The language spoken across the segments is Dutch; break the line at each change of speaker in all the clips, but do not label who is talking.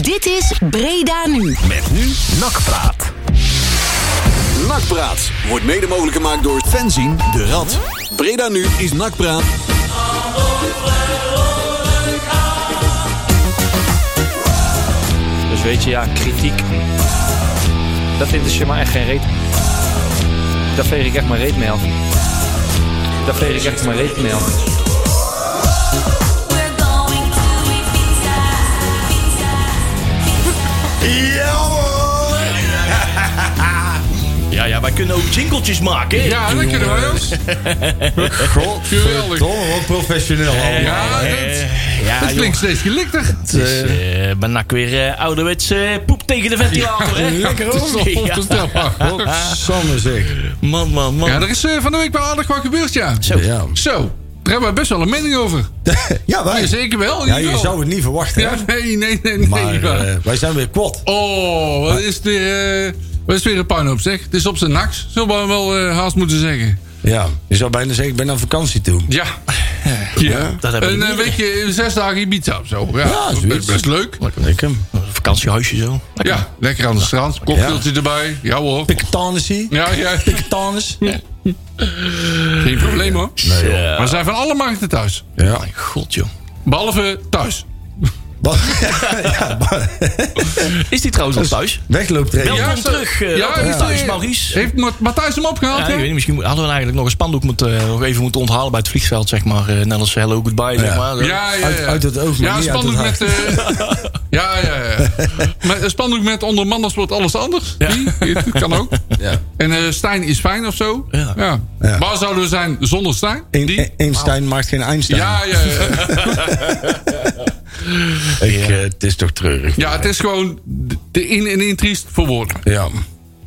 Dit is Breda Nu.
Met nu Nakpraat.
Nakpraat wordt mede mogelijk gemaakt door Fenzin de Rad. Breda Nu is Nakpraat.
Dus weet je, ja, kritiek. Dat interesseert me echt geen reet. Daar veeg ik echt mijn reet mee af. Daar veeg ik echt mijn reet mee af.
Ja hoor! Ja, ja, wij kunnen ook jingeltjes maken. hè?
Ja, dat kunnen wij ook. Geweldig.
Godverdomme, wat professioneel.
Eh,
Ja, dat-
eh, ja,
Het
joh.
klinkt steeds gelikter.
Het is eh, bijna ook weer eh, ouderwets eh, poep tegen de ventilator, hè?
Het is toch
Ja.
onvoorstelbaar.
Sanne zeg.
Man, man, man.
Ja, er is eh, van de week wel aardig wat gebeurd, ja.
Zo.
Ja.
Zo, daar hebben we best wel een mening over.
Ja, wij.
Ja, zeker wel.
Ja, je
jawel.
zou het niet verwachten.
Ja,
hè?
nee, nee, nee, nee.
Maar
maar-
eh, wij zijn weer kwad.
Oh, wat is het weer, eh, wat is het weer een puinhoop, zeg. Het is op zijn naks, zullen we wel eh, haast moeten zeggen.
Ja, je zou bijna zeggen, ik ben aan vakantie toe.
Ja. ja.
dat hebben we
een
niet
eh,
meer.
weekje, zes dagen Ibiza of zo. Ja,
Ja,
best-
zoiets.
best leuk.
Lekker.
Vakantiehuisje zo.
Ja, lekker aan het strand. Cocktailtje erbij. Ja hoor.
Piketanissie.
Ja, ja.
Piketanis.
Geen probleem hoor.
Nee,
Maar we zijn van alle markten thuis.
Ja.
Mijn god, joh.
Behalve thuis.
Wat? ja, maar-
Is die trouwens nog thuis?
Weglooptraining.
Welkom
zo-
terug. eh,
Ja,
welkom
ja.
thuis, Maurice.
Heeft Ma- Matthijs hem opgehaald?
Ja, ik
hè?
weet niet, misschien hadden we nou eigenlijk nog een spandoek moeten, eh, nog even moeten onthalen bij het vliegveld, zeg maar. eh, net als hello, goodbye, zeg maar. Zo.
Ja, ja, ja.
Uit- uit het oog, maar
Ja,
niet uit
spandoek
het
met... eh, ja, ja, ja. Maar een spandoek met onder mannen wordt alles anders. Die, dat kan ook.
Ja.
En eh, Stijn is fijn of zo.
Ja.
Ja.
Waar zouden we zijn zonder Stijn?
Een-
Die?
Een- Einstein maakt geen Einstein.
Ja, ja, ja.
Ik, eh, het is toch treurig.
ja, het is gewoon de in en in triest voor woorden.
Ja.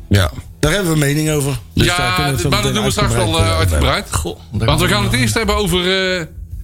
ja. Daar hebben we mening over. Dus daar
ja,
kunnen we het
d-
zo
maar dat doen
meteen
we straks wel eh,
uitgebreid over
uitgebreid.
Goh, daar
Want we
we
gaan het eerst hebben over eh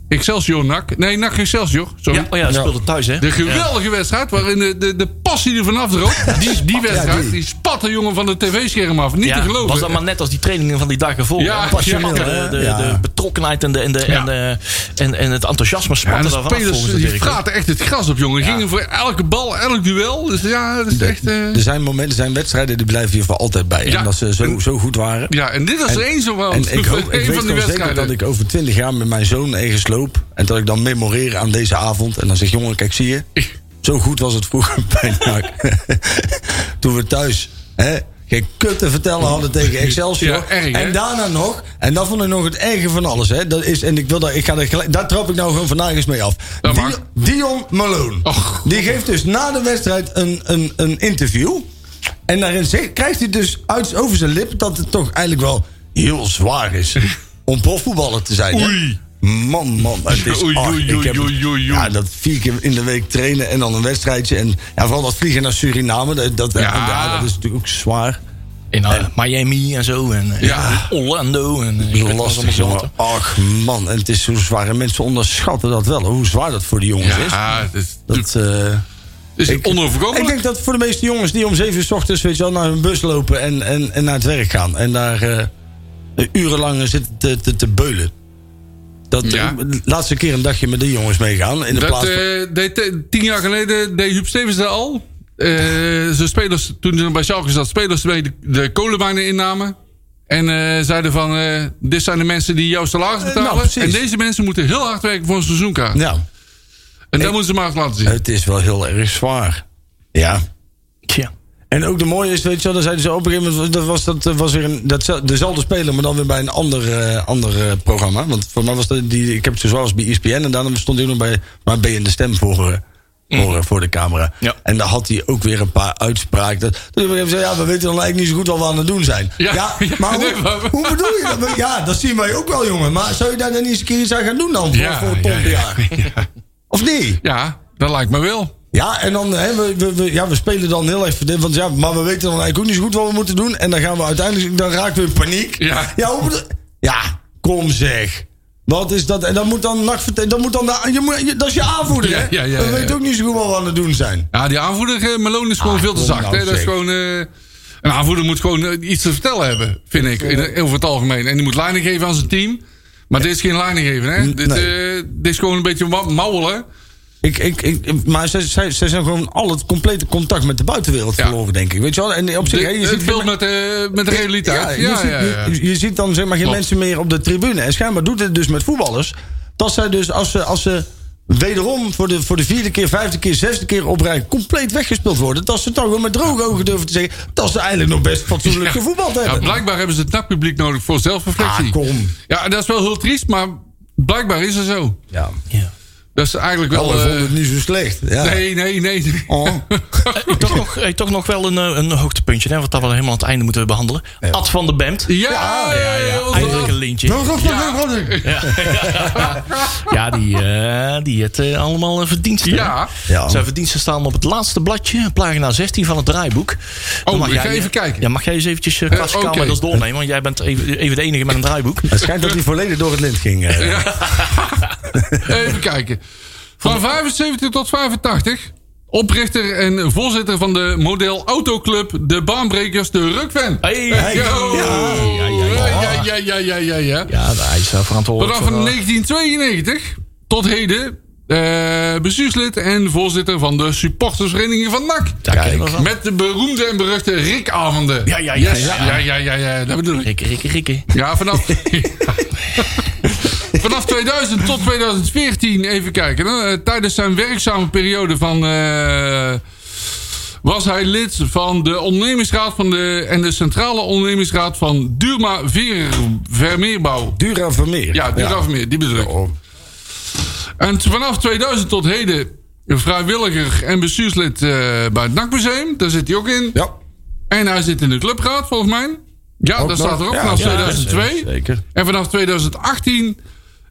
Excelsior NAC. Nee, NAC Excelsior. Sorry.
Ja, oh ja, speelde thuis, hè?
De geweldige wedstrijd waarin de, de, de passie er vanaf droog. Die, die wedstrijd,
die.
die. spat de jongen van de tv-scherm af. Niet
Ja,
te geloven.
was dat maar net als die trainingen van die dag ervoor.
Ja,
hè? Passioneel,
ja.
hè? de,
Ja.
de betrokkenheid en, de, en, de, en, de, en, en het enthousiasme
Ja, en
spatte
de
daarvan af
spelers
volgens de
die
directeur.
praten echt het gras op, jongen. Gingen voor elke bal, elk duel. Dus ja, dat is echt... eh,
Er zijn momenten, er zijn wedstrijden die blijven hier voor altijd bij.
Ja.
En dat ze zo, zo goed waren.
ja, en dit was er één zo wel.
En ik, hoop, ik weet
Eén van die
gewoon zeker
wedstrijden.
dat ik over twintig jaar met mijn zoon ergens loop. En dat ik dan memoreer aan deze avond. En dan zeg jongen, kijk, zie je. Zo goed was het vroeger bij NAC. Toen we thuis hè, geen kut te vertellen hadden tegen Excelsior.
Ja, erg, hè?
en daarna nog. En dat vond ik nog het erge van alles. Hè. Dat is, en ik wil daar, ik ga daar, gelijk, daar trap ik nou gewoon van nergens mee af.
Dat
Di-
mag.
Dion Malone.
Och.
Die geeft dus na de wedstrijd een, een, een interview. En daarin zegt- krijgt hij dus uit, over zijn lip dat het toch eigenlijk wel heel zwaar is om profvoetballer te zijn. hè?
Oei.
Man, man, het is
Oei,
ah,
oei,
ik heb-
oei, oei, oei.
Ja, dat vier keer in de week trainen en dan een wedstrijdje. En ja, vooral dat vliegen naar Suriname, dat, dat,
Ja.
en ja, dat is natuurlijk ook zwaar.
In eh, Miami en zo. En, eh,
Ja.
Orlando. En, eh, ik weet het allemaal
Lastig,
zo
jongen. Ach, man, en het is zo zwaar. En mensen onderschatten dat wel, hoe zwaar dat voor die jongens is.
Ja, dat is,
Dat, eh,
dat is
Ik
onoverkomelijk.
denk dat voor de meeste jongens die om 7 uur 's ochtends weet je wel, naar hun bus lopen en, en, en naar het werk gaan. En daar eh, urenlang zitten te, te, te beulen. Dat,
Ja.
eh, laatste keer een dagje met die jongens meegaan. In de
Dat
plaats van,
eh, deed eh, tien jaar geleden deed Huub Stevens dat al. Eh, zijn spelers, toen ze bij Schalke zat, spelers mee de, de kolenmijnen innamen. En eh, zeiden van, eh, dit zijn de mensen die jouw salaris
Eh, nou,
betalen.
precies.
en deze mensen moeten heel hard werken voor een seizoenkaart.
nou,
En dat moeten ze maar eens laten zien.
het is wel heel erg zwaar. Ja.
Tja.
En ook de mooie is, weet je wel, dan zeiden ze op een gegeven moment... Dat was, dat eh, was weer een, dat, dezelfde speler, maar dan weer bij een ander, eh, ander eh, programma. Want voor mij was dat, die, ik heb het zo zwaar als bij E ESPN... en daarna stond hij ook nog bij, maar ben je in de stem voor, eh,
Mm.
voor, eh, voor de camera.
Ja.
En daar had hij ook weer een paar uitspraken. Dat, dat hij zei, ja, we weten dan eigenlijk niet zo goed wat we aan het doen zijn.
Ja, ja,
maar
nee,
hoe,
maar-
hoe bedoel je dat? Ja, dat zien wij ook wel, jongen. Maar zou je daar dan niet eens een keer iets aan gaan doen dan? Voor, voor het
ja,
pompjaar? Of niet?
Ja, dat lijkt me wel.
Ja, en dan, hè, we, we, we- ja, we spelen dan heel even. Want ja, maar we weten dan eigenlijk ook niet zo goed wat we moeten doen. En dan gaan we uiteindelijk, dan raken we in paniek.
Ja.
Ja, hoe bedo- ja kom zeg. Wat is dat? En dan moet dan, nacht vertellen- dat, moet dan de- je moet, je- dat is je aanvoerder,
Ja,
hè?
ja, ja,
we
ja,
weten
ja.
ook niet zo goed wat we aan het doen zijn.
Ja, die aanvoerder eh, Malone is gewoon veel te
kom
zacht.
nou,
hè. Dat is
zeg.
gewoon, eh, een aanvoerder moet gewoon eh, iets te vertellen hebben, vind ik, in, eh, over het algemeen. En die moet leiding geven aan zijn team. Maar dit is geen leiding geven. Hè? Dit,
nee.
eh, dit is gewoon een beetje wa- mouwelen.
Ik, ik, ik, maar ze, ze, ze zijn gewoon al het complete contact met de buitenwereld
Ja.
verloren, denk ik. Weet je wel? En op zich, hè,
De-
je
het
ziet
beeld met, de- met de realiteit.
je,
Ja,
ziet,
ja, ja.
Je, je ziet dan zeg maar geen
Klopt.
mensen meer op de tribune. En schijnbaar doet het dus met voetballers. Dat zij dus als ze, als ze wederom voor de, voor de vierde keer, vijfde keer, zesde keer op rij compleet weggespeeld worden. Dat ze dan gewoon met droge ogen durven te zeggen dat ze eigenlijk nog best fatsoenlijk gevoetbald
Ja,
hebben.
blijkbaar hebben ze het nakpubliek nodig voor zelfreflectie.
Ah, kom.
Ja, dat is wel heel triest, maar blijkbaar is het zo.
Ja.
Dat is eigenlijk
Oh,
wel...
we
eh,
vonden het niet zo slecht. Ja.
nee, nee, nee.
Oh.
Eh, toch, nog, eh, toch nog wel een, eh, een hoogtepuntje, hè, wat dat we helemaal aan het einde moeten behandelen. Ad van de Bemt.
Ja, ja, eh, ja. onze-
Eindelijk een lintje. Ja, die, eh, die het eh, allemaal eh, verdiensten. hè?
Ja.
Ja.
Zijn verdiensten staan op het laatste bladje, pagina 16 van het draaiboek. Dan
Oh, ik
jij-
ga even kijken.
Ja, mag jij eens eventjes eh,
Eh,
Klaas
oké.
Kamerders doornemen? Want jij bent even, even de enige met een draaiboek.
Het schijnt dat hij volledig door het lint ging. eh.
Even kijken. Van 75 tot 85. Oprichter en voorzitter van de Model Autoclub, de baanbrekers, de Rukven.
Hey.
Hey, yo.
Ja, ja,
ja, ja, ja, ja, ja, ja.
Ja, hij is daar verantwoordelijk
Vanaf
voor. eh,
1992 tot heden eh, bestuurslid en voorzitter van de supportersvereniging van NAC.
daar kennen we van.
Met de beroemde en beruchte Rick-avonden.
Ja, ja, ja,
Yes,
ja.
ja, ja, ja, ja, dat bedoel ik.
Rikke, Rikke, Rikke.
Ja, vanaf... Vanaf 2000 tot 2014, even kijken. hè. Eh, Tijdens zijn werkzame periode van... eh, was hij lid van de ondernemingsraad van de, en de centrale ondernemingsraad van Durma Ver, Vermeerbouw.
Dura Vermeer.
Ja, Durma Vermeer, die bedoel ik.
Oh.
En t- vanaf 2000 tot heden vrijwilliger en bestuurslid eh, bij het NAC-museum. Daar zit hij ook in.
Ja.
En hij zit in de clubraad, volgens mij. Ja,
Ook
daar
nog.
staat er ook
Ja,
vanaf
ja,
2002.
zeker.
En vanaf 2018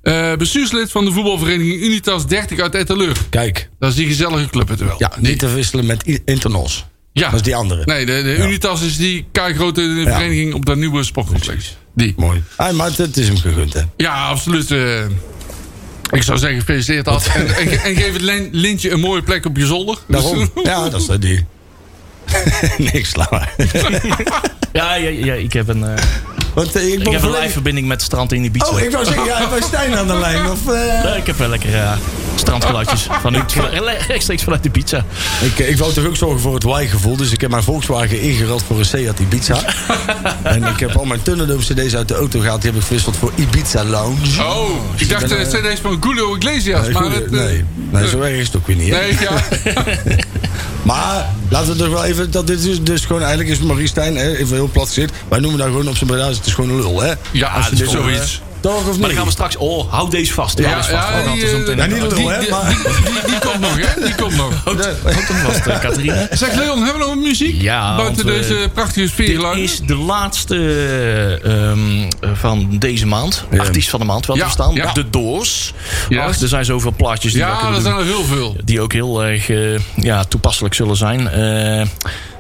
eh, bestuurslid van de voetbalvereniging Unitas 30 uit Etteleur.
Kijk.
Dat is die gezellige club het wel.
Ja, niet te wisselen met I- Internos.
Ja.
Dat is die andere.
Nee, de, de Unitas is die keigrote vereniging op dat nieuwe sportcomplex. Die.
Mooi. Ah, maar het, het is hem gegund, hè?
Ja, absoluut. eh, ik zou zeggen, gefeliciteerd Ad. En, en, en geef het lin- lintje een mooie plek op je zolder.
Daarom. Ja, dat is dat die. Niks, laat maar.
Ja, ja, ja, ik heb een, eh,
Want, eh, ik
ik
ben
heb een
volledig-
lijfverbinding met het strand in Ibiza.
Oh, ik wou zeggen, ja, ik ben Stijn aan de lijn. Of, eh?
Eh, ik heb wel lekker eh, strandgeluidjes van u, rechtstreeks vanuit Ibiza.
ik, ik wou toch ook zorgen voor het Y-gevoel. Dus ik heb mijn Volkswagen ingerald voor een Seat Ibiza. en ik heb al mijn Thunderdome cd's uit de auto gehaald. Die heb ik verwisseld voor Ibiza Lounge.
Oh, ik dacht eh, cd's van Julio Iglesias.
Eh,
maar
goed,
het, eh,
nee, nee, zo erg is het ook weer niet. hè?
nee, ja.
Maar laten we toch wel even. Dat dit dus, dus gewoon eigenlijk is Maurice Stijn, hè, even heel plat gezegd. Wij noemen daar gewoon op zijn Breda. Het is gewoon een lul, hè?
Ja,
Als je
dat is
dit-
zoiets.
Toch of
Maar
niet?
dan gaan we straks... Oh, hou deze vast. Hou deze vast. want
die,
dat is om
eh,
te-
Ja, niet lul,
die-
hè,
die-
maar-
die- die- die komt nog, hè? Die komt nog.
Houd hem vast, eh, Catharina.
Zeg Leon, hebben we nog wat muziek?
Ja,
Buiten
want, eh,
deze prachtige
Dit
sfeerlijn.
is dus de laatste ehm, van deze maand. Artiest van de maand, wel
Ja,
te verstaan.
ja.
De Doors.
Ja.
Ach, er zijn zoveel plaatjes die we
Ja,
kunnen
er
doen.
zijn er heel veel.
Die ook heel erg eh, ja, toepasselijk zullen zijn. Eh,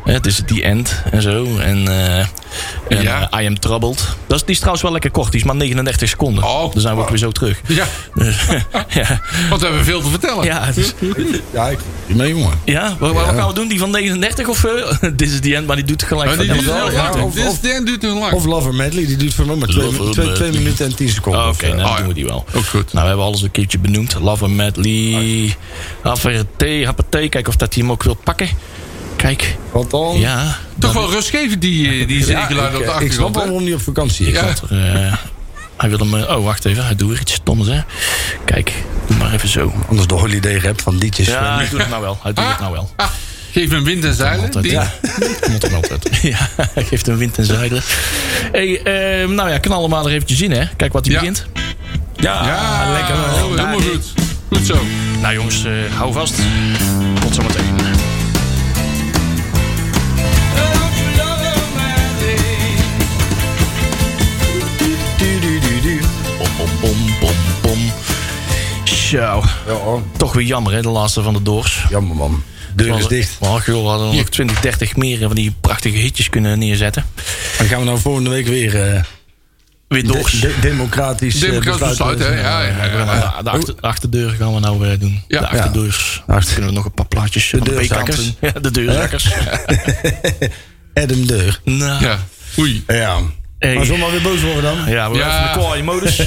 het is The End en zo. En, eh, en,
Ja.
eh, I Am Troubled. Dat is, die is trouwens wel lekker kort. Die is maar 39 seconden.
Oh.
Dan zijn we ook weer zo terug.
Ja,
Dus, ja,
want we hebben veel te vertellen.
ja, het is-
Ja, ik. Nee, jongen.
ja, wat, wat gaan we doen? Die van 39 of eh, This is The End? Maar die doet gelijk
Maar die
van
duurt heel
ja,
lang.
of-
Dit is-
of-
dit duurt heel lang.
Of Lover Medley, die duurt voor mij maar 2
Lover
twee,
Medley.
twee minuten en 10 seconden.
Oh,
of
Oké,
zo.
Ah,
nou, dan
ja.
doen we die wel.
Ook goed.
Nou, we hebben alles een keertje benoemd. Love and Medley. Averté, Haperté. Kijk of dat hij hem ook wil pakken. Kijk,
Want dan.
ja.
Toch wel rustgevend, die, eh, die zeegeluid op
Ik, ik
de
snap
achtergrond.
wel
hè?
waarom hij op vakantie is.
Ja.
Eh, hij wil hem... eh, Oh, wacht even. Hij doet weer iets stoms, hè. Kijk, doe maar even zo.
Anders de holiday rap van liedjes.
Ja, hij doet het nou wel. Hij doet het nou wel.
Ah, geef hem wind en zeilen.
Altijd,
Die-
ja. Moet hem nou altijd. Ja, hij geeft hem wind en zeilen. Hey, eh, nou ja, knal hem maar er eventjes in, hè. Kijk wat hij
Ja.
begint.
Ja, lekker wel. Helemaal goed. Goed zo.
Nou jongens, eh, hou vast. Tot zometeen. Bom, bom, bom, bom, bom. Zo,
Ja,
toch weer jammer hè, de laatste van de Doors.
jammer man. Deur is
Want-
dicht.
Maar joh, we hadden nog 20, 30 meer van die prachtige hitjes kunnen neerzetten.
Dan gaan we nou volgende week weer eh,
Weer
de-
Doors.
de- democratisch eh,
Democratisch besluit, hè? Ja, ja,
We gaan
ja.
nou de, de achter- de achterdeur gaan we nou eh, doen.
Ja.
de achterdeurs. Dan kunnen we nog een paar plaatjes de de
deurzakkers.
B-kant doen. Ja, de deurzakkers.
Adam Deur.
nou,
Ja. Oei.
Ja.
Hey.
Maar zomaar weer boos worden dan.
Ja, we
Ja.
hebben een kwaaie modus.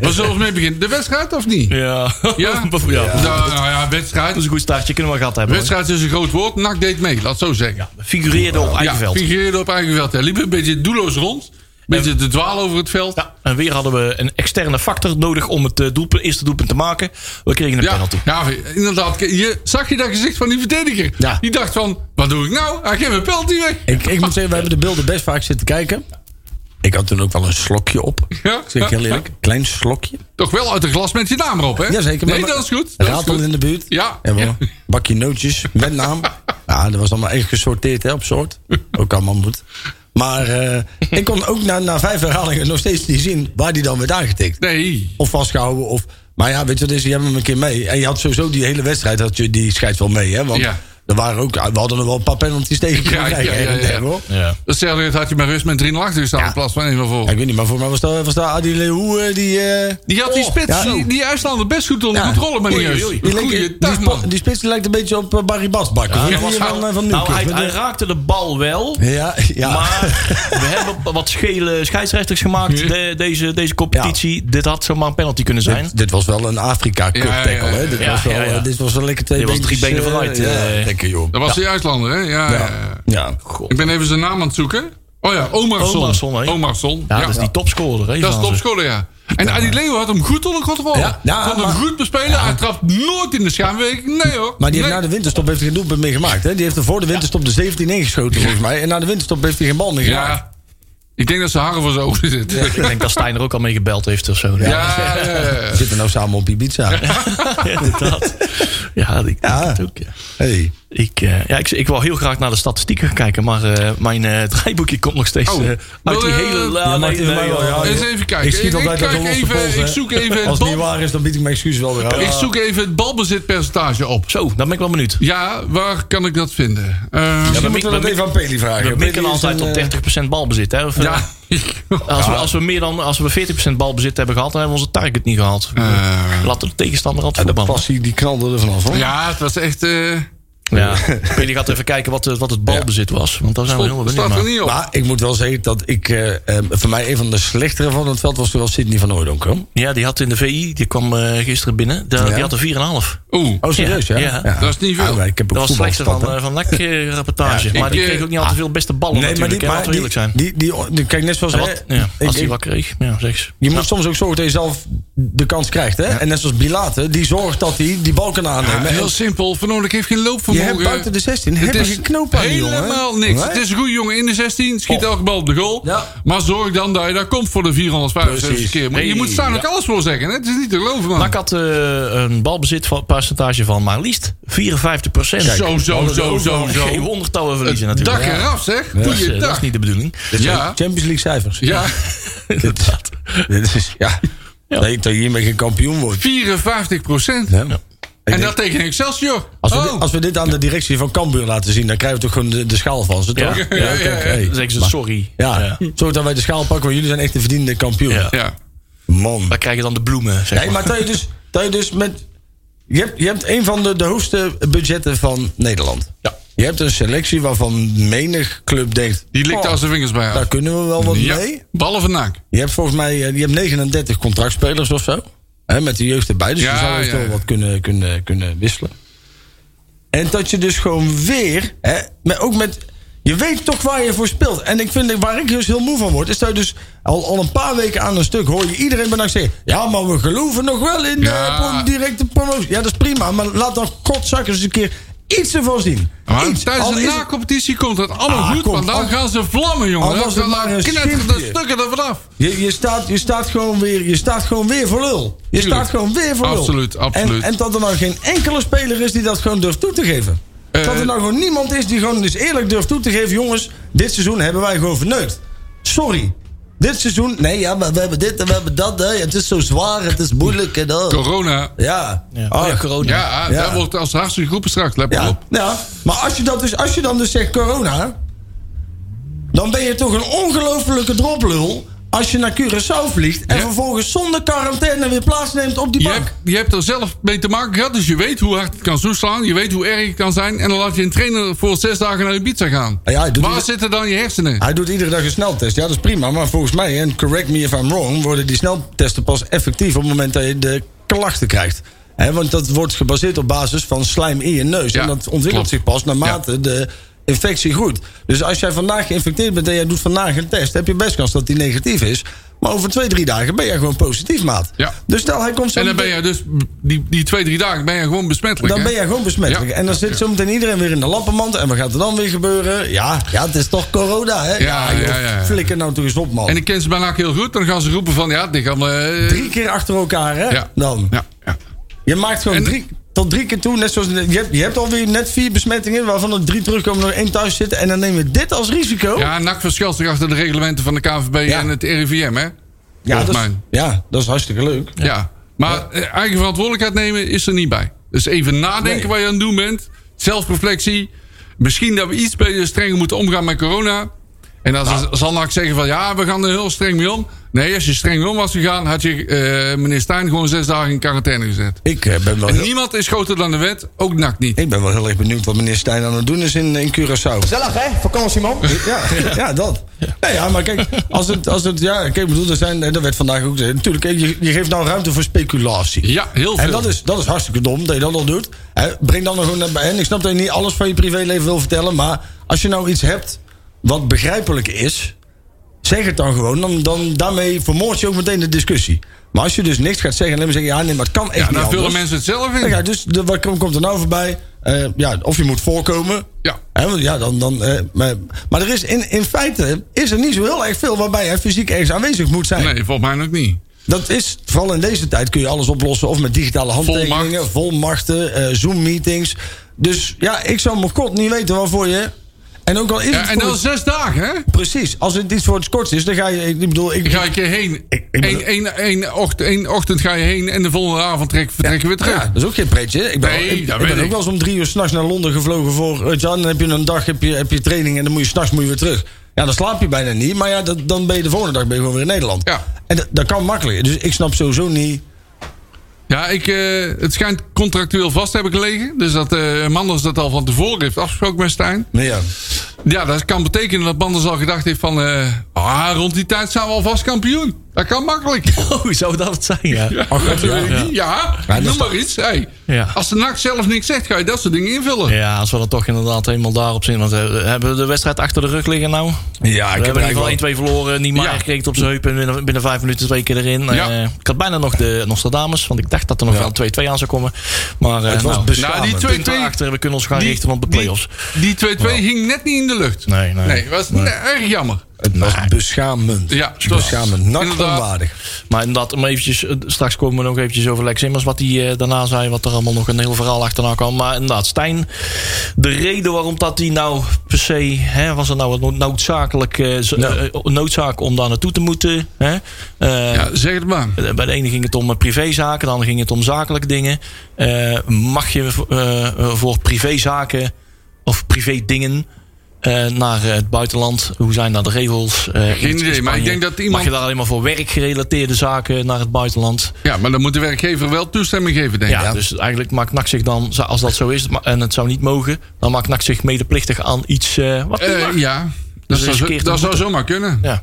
Maar zullen we mee beginnen? De wedstrijd of niet?
ja.
Ja?
ja. Dat
Nou, nou ja,
is
wedstrijd.
een goed startje, kunnen we gehad hebben. hoor.
Wedstrijd is een groot woord. NAC deed mee, laat het zo zeggen.
Figureerde op eigen veld.
figureerde op eigen veld. Hij liep een beetje doelloos rond. Een beetje te dwalen over het veld.
Ja, en weer hadden we een externe factor nodig om het eh, doelpunt, eerste doelpunt te maken. We kregen een
Ja,
penalty.
ja, inderdaad. Je, zag je dat gezicht van die verdediger?
Ja.
Die dacht van, wat doe ik nou? Hij geeft een penalty weg.
Ik, ik moet zeggen, we hebben de beelden best vaak zitten kijken. Ik had toen ook wel een slokje op.
Ja,
Zeg ik
ja,
heel eerlijk. Klein slokje.
Toch wel uit een glas met je naam erop, hè?
Jazeker.
Nee,
maar-
dat is goed. Dat is
Raatel
goed.
in de buurt.
Ja.
En wel
Ja.
een bakje nootjes met naam. Ja, dat was allemaal echt gesorteerd hè, op soort. Ook allemaal moet. Maar eh, ik kon ook na, na vijf herhalingen nog steeds niet zien waar die dan werd aangetikt.
Nee.
Of vastgehouden. Of, maar ja, weet je wat is, je hebt hem een keer mee. En je had sowieso die hele wedstrijd, had je, die scheidt wel mee. Hè? Want
Ja.
er waren ook, we hadden er wel een paar penalties tegen kunnen
Ja, ja,
krijgen, her en
ja, ja.
der, hoor.
Ja.
Stel dat had je met rust met 3-0 achter gestaan in plaats van 1 van
Ja,
voor.
ik weet niet, maar voor mij was dat, was dat Adi Leeuw eh, die... eh,
Die had die
Oh,
spits,
ja, zo.
die, die IJslander best goed onder
Ja.
controle, maar niet
Oei, oei,
eens.
oei. Die, leek-
Goeie
die
dag,
spo-
man.
die spits lijkt een beetje op eh, Barry Basbak. Ja,
Ja,
die
was
van,
hij-
eh, van
nou,
Nieuwkerk.
hij,
Met
hij
de-
raakte de bal wel.
ja, ja.
Maar we hebben wat schele scheidsrechters gemaakt. De- deze, deze competitie. Dit had zomaar een penalty kunnen zijn.
dit, dit was wel een Afrika Cup
Ja, ja, ja.
tackle, hè? Dit,
Ja,
was wel,
ja, ja.
eh, dit was wel lekker twee
Dit was drie
beentjes,
benen
eh,
vooruit,
ja,
eh.
lekker, joh.
Dat eh, was die IJslander, hè? Ja, ja.
Ja.
Ik ben even zijn naam aan het zoeken. Oh ja, Omarsson.
Omarsson, hè?
Omarsson,
Ja, dat is die topscorer. hè,
Dat is
van
de
ze.
topscorer, ja. En Adi Leo had hem goed onder controle.
Ja, ja,
Kon hem
maar-
goed bespelen. Hij trapt nooit in de schaamweek. Nee hoor.
Maar die heeft
Nee.
na de winterstop heeft hij geen doelpunt meer gemaakt. Hè? Die heeft er voor de winterstop de 17 ingeschoten, volgens mij. En na de winterstop heeft hij geen bal meer gemaakt.
Ja. Ik denk dat ze haren voor zijn ogen zitten. Ja,
Ik denk dat Stijn er ook al mee gebeld heeft of zo.
ja, ja, ja.
We zitten nou samen op Ibiza. Ja.
inderdaad. Ja, ik,
Ja.
denk het ook, ja.
Hey.
Ik, eh, ja, ik, ik wil heel graag naar de statistieken kijken, maar eh, mijn eh draaiboekje komt nog steeds
Oh.
eh, uit
Wil
die
je-
hele... eh,
Ja,
maar het is mij wel, ja.
Eens even kijken.
Ik schiet altijd uit
kijk
de losse
even,
pols, hè.
Ik zoek even,
Als
het
het niet
bal-
waar is, dan bied ik mijn excuus wel weer aan.
ik zoek even het balbezitpercentage op.
Zo, dan ben ik wel benieuwd.
Ja, waar kan ik dat vinden? Eh,
Misschien moeten we
we
dat even aan Peli vragen.
We mikken
Peli is
altijd
een,
op
eh,
30% balbezit. Hè? Of, eh,
ja.
als, we, als, we meer dan, als we 40% balbezit hebben gehad, dan hebben we onze target niet gehaald.
Eh,
Laten we de tegenstander altijd
De
voetballen.
passie die knalde er vanaf, hoor.
ja, het was echt... eh
Ja. Peli gaat even kijken wat, het- wat het balbezit was. Want daar zijn we helemaal benieuwd
staat er
naar.
niet op.
Maar ik moet wel zeggen dat ik... eh, eh, voor mij een van de slechtere van het veld was toen wel Sidney van Oordonk, hoor.
Ja, die had in de VI, die kwam eh, gisteren binnen. De-
Ja.
Die had een 4,5.
Oeh.
Oh, serieus, ja?
Ja, ja.
Dat is niet veel.
maar ik heb
Dat
ook
was het slechtste
voetbalstad,
van,
hè.
eh, van Lek-rapportage. maar
ik,
die
eh,
kreeg ook niet altijd veel beste ballen
Nee, maar
natuurlijk.
die,
hè,
maar
laten we eerlijk zijn.
Die, die, die, kijk, net zoals...
Ja,
hè,
wat, ja,
ik-
als hij
ik-
wat kreeg. Ja, zeg eens.
je moet soms ook zorgen dat je zelf de kans krijgt. Hè? En net zoals Bilate, die zorgt dat hij die bal kan
Ja,
aannemen. En
heel simpel. Van Oorlijk heeft geen
je
loopvermogen.
hebt buiten de 16
Het
heb je
is
geen knoop aan, die jongen.
helemaal niks.
Nee?
Het is een goede jongen in de 16. Schiet elke bal op de goal.
Ja.
Maar zorg dan dat je daar komt voor de 475
Precies.
keer. Maar je
Nee,
moet staan ook alles voor zeggen. Hè? Het is niet te geloven, man.
NAC had eh, een balbezitpercentage van maar liefst 54
zo, zo, zo, zo, zo.
oh, Geen wonder dat we verliezen
Het dak
natuurlijk.
eraf, zeg.
Dat, is,
Goeie
eh, dat is
dag.
niet de bedoeling.
Ja,
Champions League cijfers.
ja.
Inderdaad.
Dit is, ja.
Ja.
Dat je dat je hiermee geen kampioen wordt.
54 procent.
hè. Ik
En
denk-
dat tegen Excelsior.
Als we,
Oh.
dit, als we dit aan de directie van Cambuur laten zien, dan krijgen we toch gewoon de, de schaal van ze,
Ja.
toch?
Ja,
ja, ja.
kijk, hey.
Dan zeggen ze sorry.
Ja,
Ja.
zorg dat wij de schaal pakken, want jullie zijn echt de verdiende kampioen.
Ja.
Ja.
Man.
Wij krijgen dan de bloemen, zeg
Nee,
maar.
maar dat je dus, dat je dus met... Je hebt, je hebt een van de, de hoogste budgetten van Nederland.
Ja.
Je hebt een selectie waarvan menig club denkt...
Die likt
"Oh,
als de vingers bij
Daar
haar.
kunnen we wel wat
Ja,
mee.
ballen van Naak.
Je hebt volgens mij eh, je hebt 39 contractspelers of zo. Hè, met de jeugd erbij. Dus
Ja,
je zou
ja,
wel
ja.
wat kunnen, kunnen, kunnen wisselen. En dat je dus gewoon weer... Hè, maar ook met, je weet toch waar je voor speelt. En ik vind, waar ik dus heel moe van word... is dat je dus al, al een paar weken aan een stuk... hoor je iedereen bedankt zeggen... ja, maar we geloven nog wel in de
Ja.
pro- directe promotie. Ja, dat is prima. Maar laat dan godzakken eens een keer iets ervan zien.
Maar
iets.
tijdens
Al
de
is het-
na-competitie komt het allemaal
Ah,
goed.
komt-
want dan
al-
gaan ze vlammen, jongen.
al
Dan
was het
gaan-
maar
dan
een
knetteren de
schipje.
stukken er vanaf.
Je, je, staat, je, staat gewoon weer, je staat gewoon weer voor lul. Je
Tuurlijk.
staat gewoon weer voor lul.
Absoluut, absoluut.
En, en dat er nou geen enkele speler is die dat gewoon durft toe te geven.
Eh,
dat er nou gewoon niemand is die gewoon dus eerlijk durft toe te geven... jongens, dit seizoen hebben wij gewoon verneukt. Sorry. Dit seizoen... Nee, ja, maar we hebben dit en we hebben dat. Hè. Het is zo zwaar, het is moeilijk. En, oh.
Corona.
Ja. Ah,
Ja. Oh ja, corona.
Ja,
Ja.
dat wordt als hartstikke groepen straks. Let maar
Ja,
op.
ja. maar als je, dat dus, als je dan dus zegt corona... dan ben je toch een ongelofelijke droplul... als je naar Curaçao vliegt en
Ja.
vervolgens zonder quarantaine weer plaatsneemt op die
Je
bank.
hebt, je hebt er zelf mee te maken gehad, dus je weet hoe hard het kan toeslaan. Je weet hoe erg het kan zijn. En dan laat je een trainer voor zes dagen naar Ibiza gaan.
Ah, Ja, Ah, hij doet
Waar
het-
zitten dan je hersenen?
Hij doet iedere dag een sneltest. Ja, dat is prima. Maar volgens mij, en correct me if I'm wrong... worden die sneltesten pas effectief op het moment dat je de klachten krijgt. Hè, want dat wordt gebaseerd op basis van slijm in je neus.
Ja,
en dat ontwikkelt
klopt.
zich pas naarmate de infectie groeit. Dus als jij vandaag geïnfecteerd bent en jij doet vandaag een test... heb je best kans dat die negatief is. Maar over twee, drie dagen ben jij gewoon positief, maat.
Ja.
Dus stel, hij komt zo...
En dan ben
meteen-
je dus, die, die twee, drie dagen ben je gewoon besmettelijk.
dan
hè?
ben jij gewoon besmettelijk.
Ja.
En dan
Ja,
zit
ja.
zo meteen iedereen weer in de lappenmand. En wat gaat er dan weer gebeuren? Ja, ja het is toch corona, hè?
Ja,
joh,
ja, ja, ja.
Flikker nou toch eens op, man.
En ik ken ze bijna heel goed. Dan gaan ze roepen van, ja, dit gaan we... eh,
Drie keer achter elkaar, hè?
Ja.
Dan.
Ja, ja.
Je maakt gewoon
En-
drie, tot drie keer toe. Net zoals, je, hebt, je hebt alweer net vier besmettingen, waarvan er drie terugkomen en er één thuis zitten. En dan neem je dit als risico.
ja NAC verschilt zich achter de reglementen van de KVB
Ja.
en het RIVM, hè?
Ja,
Volgens
dat is,
mij.
ja, dat is hartstikke leuk.
Ja. Maar eh, eigen verantwoordelijkheid nemen is er niet bij. Dus even nadenken
Nee.
waar je aan het doen bent. Zelfreflectie. Misschien dat we iets beter strenger moeten omgaan met corona. En dan zal- zal NAC zeggen van ja, we gaan er heel streng mee om. Nee, als je streng mee om was gegaan, had je eh, meneer Stijn gewoon zes dagen in quarantaine gezet.
Ik, eh, ben wel
En
heel,
niemand is groter dan de wet, ook NAC niet.
ik ben wel heel erg benieuwd wat meneer Stijn aan het doen is in, in Curaçao.
Gezellig hè, vakantie man.
Ja, ja, dat. Nee, ja, maar kijk, als het, als het, ja, kijk, ik bedoel, er zijn, dat werd vandaag ook gezegd. Natuurlijk, kijk, je, je geeft nou ruimte voor speculatie.
Ja, heel
En
veel.
dat is, dat is hartstikke dom dat je dat al doet. Hè, breng dan nog gewoon naar bij. En ik snap dat je niet alles van je privéleven wil vertellen. Maar als je nou iets hebt wat begrijpelijk is. Zeg het dan gewoon. Dan, dan, daarmee vermoord je ook meteen de discussie. Maar als je dus niks gaat zeggen. En alleen maar zeggen. Ja, nee, maar het kan echt
ja, nou,
niet
dan vullen
anders.
mensen het zelf in.
Nou ja, dus de, wat kom- komt er nou voorbij? Eh, ja, of je moet voorkomen.
Ja.
Hè, want ja dan, dan, eh, maar, maar er is in, in feite is er niet zo heel erg veel waarbij je fysiek ergens aanwezig moet zijn.
Nee, volgens mij ook niet.
Dat is, vooral in deze tijd kun je alles oplossen. Of met digitale handtekeningen,
Volmacht.
volmachten, eh, Zoom-meetings. Dus ja, ik zou mijn god niet weten waarvoor je... En ook al is
Ja,
het
en
voor
dat is zes dagen, hè?
Precies, als het iets voor het korts is, dan ga je... Ik bedoel, ik,
Ga ik je heen.
Ik- ik bedoel-
Eén één ochtend, één ochtend ga je heen en de volgende avond trek, vertrekken we terug.
Ja, dat is ook geen pretje. Ik ben,
Nee,
ik,
dat
ik
weet
ben ook
ik.
wel eens om drie uur s'nachts naar Londen gevlogen voor... Weet je, wel, dan heb je een dag heb je, heb je training en dan moet je s'nachts weer terug. Ja, dan slaap je bijna niet. Maar ja, dat, dan ben je de volgende dag ben je gewoon weer in Nederland.
Ja.
En dat, dat kan makkelijk. Dus ik snap sowieso niet...
Ja, ik, eh, het schijnt contractueel vast te hebben gelegen. Dus dat eh Manders dat al van tevoren heeft afgesproken met Stijn.
Nee, ja.
Ja, dat kan betekenen dat Manders al gedacht heeft van... eh, ah, rond die tijd zijn we alvast kampioen. Dat kan makkelijk.
Oh, zou dat het zijn? Ja.
Ach, dat weet ik
ja.
niet. ja. noem maar iets. Hey,
Ja.
Als de NAC zelf niks zegt, ga je dat soort dingen invullen.
Ja, als we dan toch inderdaad helemaal daarop zitten. Want eh, hebben we de wedstrijd achter de rug liggen nou?
Ja,
we hebben in ieder geval 1-2 verloren. Niemeyer
Ja.
kreeg op zijn heup en binnen, binnen vijf minuten twee keer erin.
Ja.
Eh, ik had bijna nog de Nostradamus, want ik dacht dat er nog
Ja.
wel 2-2 aan zou komen. Maar eh
Het was
nou,
beschamend.
Nou, die twee-
punten achter, we kunnen ons gaan richten op de play-offs.
Die 2-2 hing net niet in de lucht.
Nee, nee.
Nee, was
Nee.
erg jammer.
Het was beschamend.
Ja, het was
beschamend. Nak
inderdaad-
onwaardig.
Maar inderdaad, om eventjes, eh, straks komen we nog eventjes over Lex Immers. Wat hij eh, daarna zei, wat er allemaal nog een heel verhaal achterna kwam. Maar inderdaad, Stijn, de reden waarom dat hij nou per se... Hè, was het nou een nood- noodzakelijk, eh, z-
Ja.
eh, noodzaak om daar naartoe te moeten? Hè? Eh,
Ja, zeg het maar.
eh, Bij de ene ging het om eh, privézaken, de andere ging het om zakelijke dingen. Eh, mag je v- eh, eh, voor privézaken of privédingen eh, naar eh, het buitenland? Hoe zijn daar de regels? Eh, in- in
idee, maar ik
Spanje
denk dat
Mag
iemand-
je daar alleen maar voor werkgerelateerde zaken naar het buitenland?
Ja, maar dan moet de werkgever wel toestemming geven, denk ik.
Ja, dus eigenlijk maakt NAC zich dan, zo- als dat zo is ma- en het zou niet mogen... dan maakt NAC zich medeplichtig aan iets eh, wat niet
Eh,
mag.
ja, dat,
Dus
zou, zo-
riskeert
dat
een
zou zomaar kunnen.
Ja.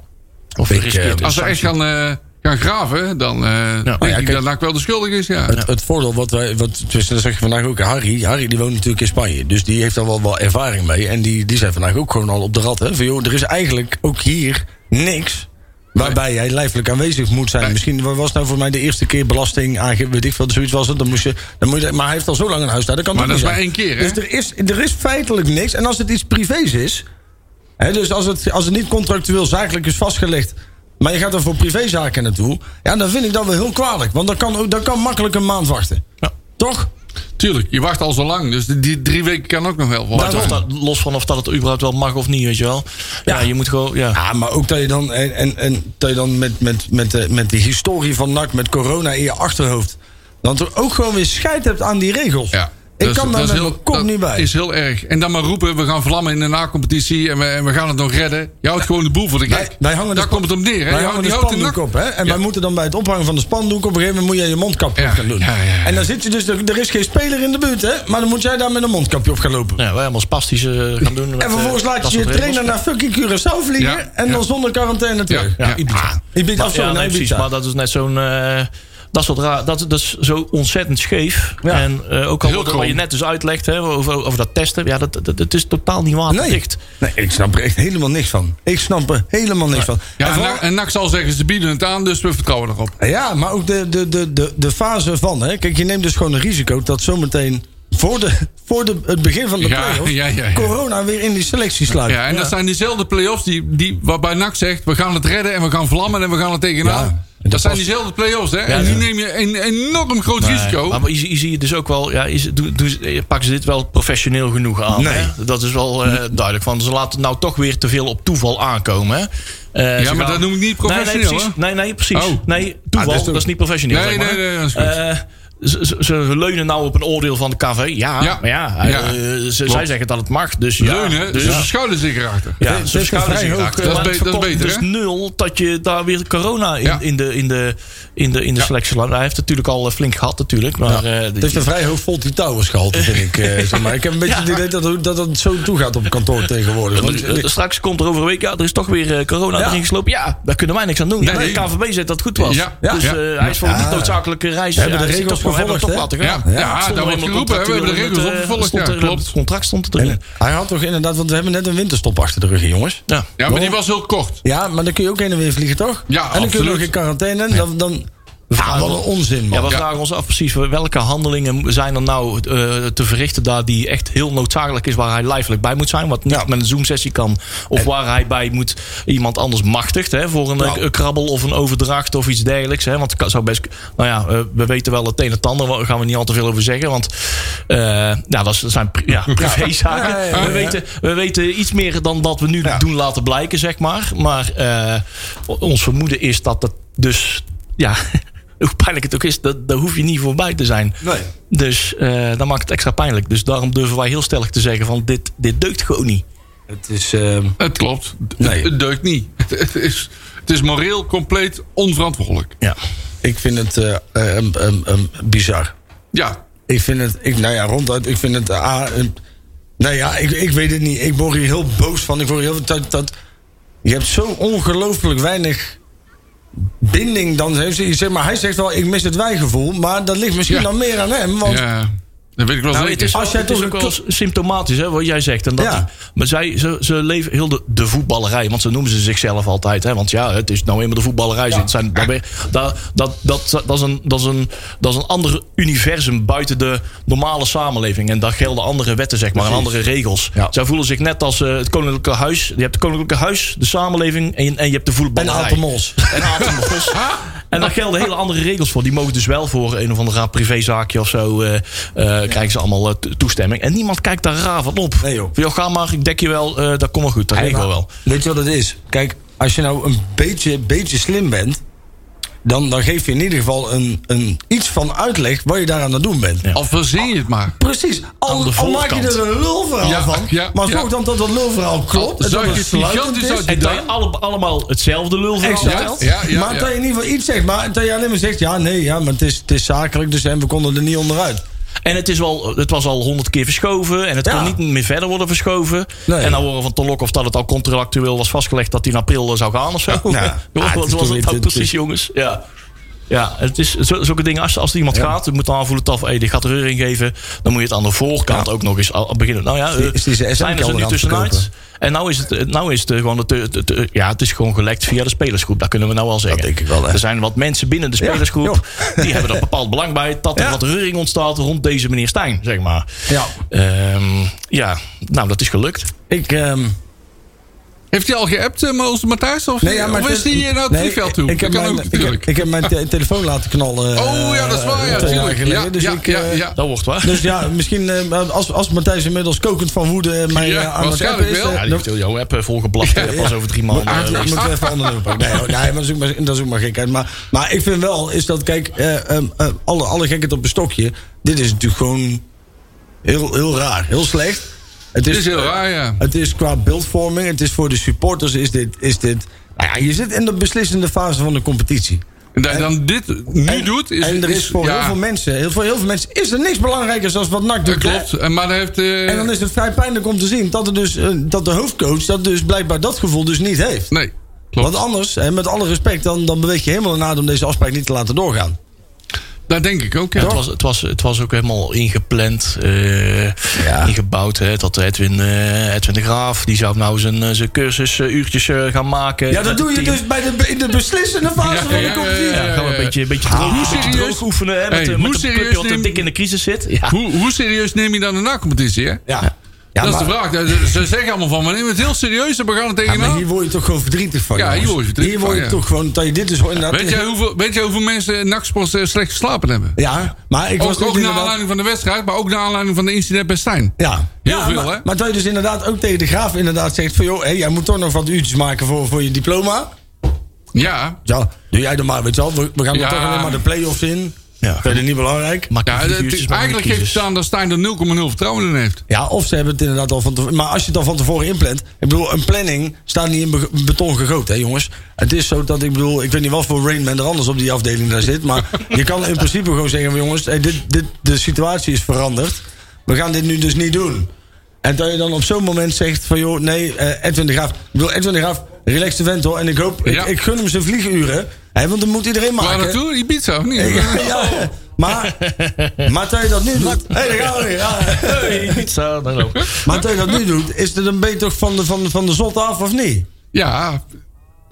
Of
Ik,
riskeert
eh,
een
Als ze echt
sanctie.
gaan, eh, gaan graven, dan eh denk
ja,
ik
kijk.
dat NAC wel de schuldig is. Ja.
Het, het voordeel wat wij, wat, dus dat zeg je vandaag ook, Harry, Harry die woont natuurlijk in Spanje. Dus die heeft daar wel, wel ervaring mee. En die, die zijn vandaag ook gewoon al op de rat. Hè? Van, joh, er is eigenlijk ook hier niks waarbij jij lijfelijk aanwezig moet zijn.
Nee.
Misschien wa- was nou voor mij de eerste keer belasting aangeven, weet ik veel, zoiets was het. Dan moest je, dan moet je, maar hij heeft al zo lang een huis daar, dat kan
Maar
toch
dat
niet zijn.
is maar één keer, hè?
Dus er is, er is feitelijk niks. En als het iets privés is, Hè, dus als het, als het niet contractueel zakelijk is vastgelegd. maar je gaat er voor privézaken naartoe. ja, dan vind ik dat wel heel kwalijk. Want dan kan, ook- dan kan makkelijk een maand wachten.
Ja.
Toch?
Tuurlijk, je wacht al zo lang, dus die- die drie weken kan ook nog wel.
Maar
volgens
of
mij.
dat, los van of dat het überhaupt wel mag of niet, weet je wel. Ja, je moet gewoon...
Ah.
Ja.
Ja, maar ook dat je dan. en, en, en dat je dan met, met, met, de, met die historie van NAC. met corona in je achterhoofd. dan toch ook gewoon weer scheid hebt aan die regels.
Ja.
Ik
Dat is-
kan
dat
daar
is
met
heel-
mijn kop
dat
niet bij.
is heel erg. En dan maar roepen, we gaan vlammen in de na-competitie en we, en we gaan het nog redden. Je houdt gewoon de boel voor de
Wij-
gek.
wij hangen de
Daar
span-
komt het op neer. Hè?
Wij
Je
hangen
houdt-
de
je houdt de
spandoek
nak-
op, hè? En
Ja.
wij moeten dan bij het ophangen van de spandoek... op een gegeven moment moet jij je mondkapje
Ja,
op gaan doen.
ja, ja, ja.
En dan zit je dus... Er er is geen speler in de buurt, hè? Maar dan moet jij daar met een mondkapje op gaan lopen.
Nou Ja, wij allemaal spastisch eh, gaan doen. met,
En vervolgens
eh, dat
laat je je
soort
trainer
regels.
naar fucking Curaçao vliegen...
Ja,
en dan
ja.
zonder quarantaine terug.
Ja, Ah. ja.
Ibiza. Ibiza,
Maar,
of zo,
ja, nee,
naar
precies.
Ibiza.
Maar dat is net zo'n. eh, dat, soort raar, dat, dat is zo ontzettend scheef.
Ja.
En eh, ook al
Heel
wat, wat
krom.
je net dus uitlegt hè, over, over dat testen. Ja, dat, dat, dat is totaal niet waterdicht.
Nee, ik snap er echt helemaal niks van. Ik snap er helemaal niks van.
Ja,
En
en,
vooral-
NAC- en NAC zal zeggen, ze bieden het aan, dus we vertrouwen erop.
Ja, maar ook de, de, de, de, de fase van. Hè? Kijk, je neemt dus gewoon een risico dat zometeen voor, de, voor de, het begin van de
Ja,
playoffs
ja, ja, ja.
corona weer in die selectie sluit.
Ja, en dat zijn diezelfde play-offs die, die, waarbij NAC zegt... we gaan het redden en we gaan vlammen en we gaan er tegenaan.
Ja, en
dat
dat
zijn
past-
diezelfde play-offs, hè? en nu neem je een enorm groot
Nee,
risico.
Maar je, je ziet dus ook wel, ja, is, het- doen- doen ze- eh, pakken ze dit wel professioneel genoeg aan?
Nee.
Hè? Dat is wel eh, duidelijk. Want ze laten nou toch weer te veel op toeval aankomen. Hè? Eh,
Ja,
ze
maar dat noem ik niet
Nee,
professioneel,
nee, precies.
hè?
Nee, nee, precies.
Oh.
Nee, toeval,
dat is
dat,
toch-
is niet professioneel.
Nee,
zeg maar,
nee,
hè?
nee, dat is goed.
Eh, ze, ze- ze leunen nou op een oordeel van de KV. Ja,
Ja.
maar ja, eh,
Ja.
ze- zij zeggen dat het mag. Dus ja,
Leunen,
dus,
dus ze schouderen zich erachter.
ja,
Dit-
ze
dit
schouderen
is vrij
zich
hoog,
achter.
eh,
Maar
dat is
het
be- dat is
voorkomt
beter,
dus nul dat je daar weer corona in,
Ja.
in de, in de, in de, in de
Ja.
selectie laat. Hij heeft het natuurlijk al eh, flink gehad natuurlijk. Maar, eh,
Het heeft een vrij hoog volt die touwers gehalte, vind ik. eh, zeg maar. Ik heb een beetje het idee dat, dat het zo toe gaat op kantoor tegenwoordig.
Want,
Want,
eh,
eh,
straks komt er over een week, ja, er is toch weer eh, corona
Ja.
erin geslopen. Ja, daar kunnen wij niks aan doen.
Nee,
de
nee.
KVB zegt dat het goed was.
Ja, ja,
Dus
ja.
eh, hij is voor
Ja.
de noodzakelijke reis.
We hebben de
hij is
regels
toch wel- hebben we
gevolgd,
toch
hè?
laten gaan.
Ja, ja,
Stond
daar
er
wordt
helemaal
geroepen, hè, we hebben de
contractueel in
regels
het, eh,
opgevolgd.
stond
Ja,
er in
klopt.
Het contract stond
en eh,
erin.
hij had toch inderdaad, want we hebben net een winterstop achter de rug, jongens.
Ja.
Ja, maar die was heel kort.
Ja, maar dan kun je ook heen en weer vliegen, toch?
Ja,
en dan kun je
absoluut.
nog in quarantaine. en Dan, dan, ah, wat een onzin, man.
Ja, we
Ja.
vragen ons af precies welke handelingen zijn er nou eh, te verrichten daar die echt heel noodzakelijk is, waar hij lijfelijk bij moet zijn, wat niet met een Zoom-sessie kan, of waar hij bij moet iemand anders machtigt hè, voor een eh, krabbel of een overdracht of iets dergelijks. Hè, want het kan- zou best, nou ja, eh, we weten wel het een en het ander, daar gaan we niet al te veel over zeggen, want eh, nou, dat is- dat zijn pri- ja, privézaken.
Ja, ja, ja,
We,
ja.
weten, we weten iets meer dan dat we nu doen laten blijken, zeg maar. Maar eh, ons vermoeden is dat het dus, ja, hoe pijnlijk het ook is, dat, daar hoef je niet voorbij te zijn.
Nee.
Dus eh dat maakt het extra pijnlijk. Dus daarom durven wij heel stellig te zeggen van dit, dit deukt gewoon niet.
Het is... ehm,
Het klopt. D-
Nee.
Het deukt niet. Het is, het is moreel compleet onverantwoordelijk.
Ja.
ik vind het eh, ehm, ehm, ehm, bizar.
Ja,
Ik vind het, ik, nou ja, ronduit, ik vind het. eh, ah, een- nou ja, ik, ik weet het niet. Ik word hier heel boos van. Ik word hier heel, dat, dat, je hebt zo ongelooflijk weinig binding dan. heeft ze- Zeg maar, hij zegt wel, ik mis het wijgevoel. Maar dat ligt misschien
Ja.
dan meer aan hem. Want
ja, dat weet ik wel
Nou, het
zeker.
is,
Als jij
het is
toch
ook
een
wel symptomatisch, hè, wat jij zegt. En dat,
Ja.
Maar zij, ze, ze leven heel de, de voetballerij. Want ze noemen ze zichzelf altijd. Hè, want ja, het is nou eenmaal de voetballerij. Ze Zijn, daar ben- daar- dat, dat, dat, is een, dat, is een, dat is een ander universum buiten de normale samenleving. En daar gelden andere wetten, zeg maar. En andere regels.
Ja.
Zij voelen zich net als eh, het Koninklijke Huis. Je hebt het Koninklijke Huis, de samenleving en, je- en je hebt de
en
voetballerij.
Aad de Mos.
En Aten Bos. En daar gelden hele andere regels voor. Die mogen dus wel voor een of ander raar privézaakje of zo. eh, eh, krijgen ze allemaal eh, to- toestemming. En niemand kijkt daar raar van op.
Nee, joh.
Van, ga maar, ik dek je wel. eh, dat komt wel goed, dat regelen we wel.
Weet je wat het is? Kijk, als je nou een beetje, beetje slim bent. Dan, dan geef je in ieder geval een, een, iets van uitleg wat je daaraan aan het doen bent.
Al verzin je het maar.
Precies. Al,
de
al maak je
voorkant.
er een lulverhaal
Ja,
van.
ja,
maar zorg
ja.
dan dat dat lulverhaal klopt. en
Zorg
dat
je
het
het gigantisch
sluitend is.
uit die
En dat je
dag-
alle- allemaal hetzelfde lul van
Exact.
vertelt.
Ja, ja,
maar
ja.
dat je in ieder geval iets zegt. Maar dat je alleen maar zegt, ja, nee, ja, maar het is, het is zakelijk, dus en we konden er niet onderuit.
En het, is wel, het was al honderd keer verschoven. En het
Ja.
kon niet meer verder worden verschoven.
Nee.
En dan horen van Tolok of dat het al contractueel was vastgelegd dat hij in april eh, zou gaan of zo.
Ja.
Joh,
Ah, het
wat
is
was
toch-
het nou
het is-
precies, jongens? Ja. Ja, het is zo- zulke dingen. Als, als er iemand gaat, je moet dan aanvoelen dat hey, die gaat reur in geven. Dan moet je het aan de voorkant ook nog eens al- beginnen. Nou ja,
die-
eh,
is die zijn SM
zijn er
kelder
nu
aan het
tussenuit.
verkopen?
En nou is het, eh, nou is het eh, gewoon, het, eh, het, eh, ja, het is gewoon gelekt via de spelersgroep. Dat kunnen we nou wel zeggen.
denk ik wel, hè.
Er zijn wat mensen binnen de
Ja,
spelersgroep. die hebben er bepaald belang bij dat er
Ja.
wat reuring ontstaat rond deze meneer Stijn, zeg maar.
Ja.
Ehm, ja, nou dat is gelukt.
Ik, ehm,
Heeft hij al geappt, eh, onze Matthijs? Of,
nee, ja, maar
of
het
is hij eh, naar het
nee,
vliegveld toe?
Ik heb,
Dat kan
mijn,
ook
ik, heb-
natuurlijk.
ik heb mijn te- telefoon laten knallen. eh,
Oh ja, dat is waar. Ja,
twee jaar
tuurlijk.
geleden,
Ja,
dus
ja,
ik,
ja,
eh,
ja.
Dat wordt waar.
Dus ja, misschien eh, als, als Matthijs inmiddels kokend van woede mij
Ja,
eh, aan het
waarschijnlijk
appen is...
wel.
eh,
ja, die
dan-
heeft heel jouw app eh, volgeplakt. eh, Pas over drie maanden.
Ah,
eh,
ik moet er even andere lopen. Nee, hoor, nee maar dat is ook maar, dat is ook maar gekheid. Maar, maar ik vind wel, is dat, kijk, eh, ehm, eh, alle, alle gekheid op een stokje. Dit is natuurlijk gewoon Heel, heel raar, heel slecht. Het
is heel raar, ja.
Het is qua beeldvorming, het is voor de supporters, is dit... Is dit nou ja, je zit in de beslissende fase van de competitie.
Dat je dan dit nu
En-
doet... Is,
en er is voor
ja,
heel veel mensen, heel, voor heel veel mensen is er niks belangrijkers dan wat NAC
Dat
doet.
klopt. En Maar daar heeft... eh,
En dan is het vrij pijnlijk om te zien dat, er dus, eh, dat de hoofdcoach dat dus blijkbaar dat gevoel dus niet heeft.
Nee, klopt.
Want anders, en met alle respect, dan, dan beweeg je helemaal naar om deze afspraak niet te laten doorgaan.
Dat denk ik ook, ja.
Het was, het, was, het was ook helemaal ingepland, eh,
Ja.
ingebouwd. Hè, dat Edwin, eh, Edwin de Graaf, die zou nou zijn, eh, zijn cursus eh, uurtjes eh, gaan maken.
Ja,
met
dat doe je
het team.
dus bij de, in de beslissende fase
Ja,
van de
ja,
competitie.
ja, Ah.
Ja, gaan we een beetje, een beetje, droog,
Hoe
een beetje
serieus-
droog oefenen. Hè, met
Hey,
de-
hoe
met de
serieus
clubje wat er
neem-
dik in de crisis zit. Ja.
Hoe, hoe serieus neem je dan de na-competitie, hè?
Ja. Ja,
dat
maar-
is de vraag. Ze- Ze zeggen allemaal van, we nemen het heel serieus en we gaan het
Ja, maar
tegenaan.
hier word je toch gewoon verdrietig van.
Ja, hier
jongens.
word je verdrietig
Hier word
van,
je
ja.
toch gewoon dat je dit dus hoor. inderdaad-
Weet jij hoeveel, weet jij hoeveel mensen nachtsports eh, slecht geslapen hebben?
Ja, maar ik was
Ook,
dus
ook naar
inderdaad-
aanleiding van de wedstrijd, maar ook naar aanleiding van de incident bij Stijn.
Ja.
Heel
Ja,
veel,
maar,
hè?
Maar dat je dus inderdaad ook tegen de graaf inderdaad zegt van... joh, hé, jij moet toch nog wat uurtjes maken voor, voor je diploma.
Ja,
Ja, doe jij dan maar, weet je wel. We, we gaan
Ja.
er toch alleen maar de play-offs in.
Ja.
Vind je dat niet belangrijk?
Maak
ja
die
het-
figuurtjes maar in de
eigenlijk
dus.
geeft
crisis.
het aan dat Stijn er 0,0 vertrouwen in heeft.
Ja, of ze hebben het inderdaad al van tevoren... Maar als je het al van tevoren inplant... Ik bedoel, een planning staat niet in be- beton gegoten, hè jongens. Het is zo dat ik bedoel... Ik weet niet wat voor Rainman er anders op die afdeling daar zit. Maar je kan in principe gewoon zeggen van... Jongens, hé, dit, dit, de situatie is veranderd. We gaan dit nu dus niet doen. En dat je dan op zo'n moment zegt van... joh, nee, eh, Edwin de Graaf... Ik bedoel, Edwin de Graaf, relax de vent hoor. En ik hoop...
Ja.
Ik, ik gun hem zijn vlieguren. Hè, want dan moet iedereen
Waar
maken.
naartoe? Ibiza of niet?
Ja, ja, maar, maar dat je dat nu doet. Hé, daar gaan we weer, ja.
Hey, iets aan, dan ook.
Maar dat je dat nu doet, is het een beetje toch van de, van, de- van de zot af of niet?
Ja,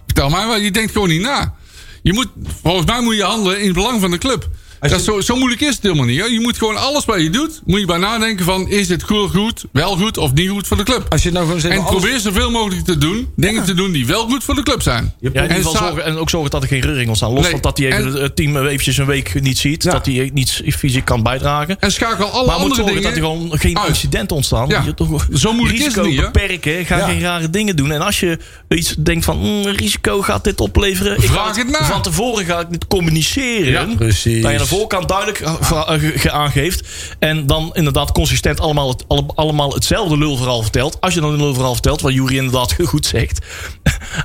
vertel mij wel. Je denkt gewoon niet na. Je moet, volgens mij moet je handelen in het belang van de club. Dat is zo, zo moeilijk is het helemaal niet. Hoor. Je moet gewoon alles wat je doet, moet je bij nadenken van... is dit goed, goed, wel goed of niet goed voor de club?
Als je het nou gewoon zegt.
En
alles-
probeer zoveel mogelijk te doen. Dingen te doen die wel goed voor de club zijn.
Ja, in ieder
en,
geval
sta-
zorgen, en ook zorgen dat er geen reuring ontstaat. Los
Nee,
van dat hij even
en-
het team eventjes een week niet ziet. Dat hij niet fysiek kan bijdragen.
en schakel alle
Maar moet
andere
zorgen
dingen...
dat er gewoon geen
uit.
incidenten ontstaan.
Ja.
Je toch
Zo moeilijk is het
risico
niet, hè?
beperken. Ga
Ja.
geen rare dingen doen. En als je iets denkt van mm, risico gaat dit opleveren. ik
Vraag
ga
het na.
Van tevoren ga ik dit communiceren.
Ja,
precies.
Dat je aan de voorkant duidelijk eh, va- eh, ge- ge- aangeeft. En dan inderdaad consistent allemaal, het, alle- allemaal hetzelfde lulverhaal vertelt. Als je dan een lulverhaal vertelt. Wat Jury inderdaad goed zegt.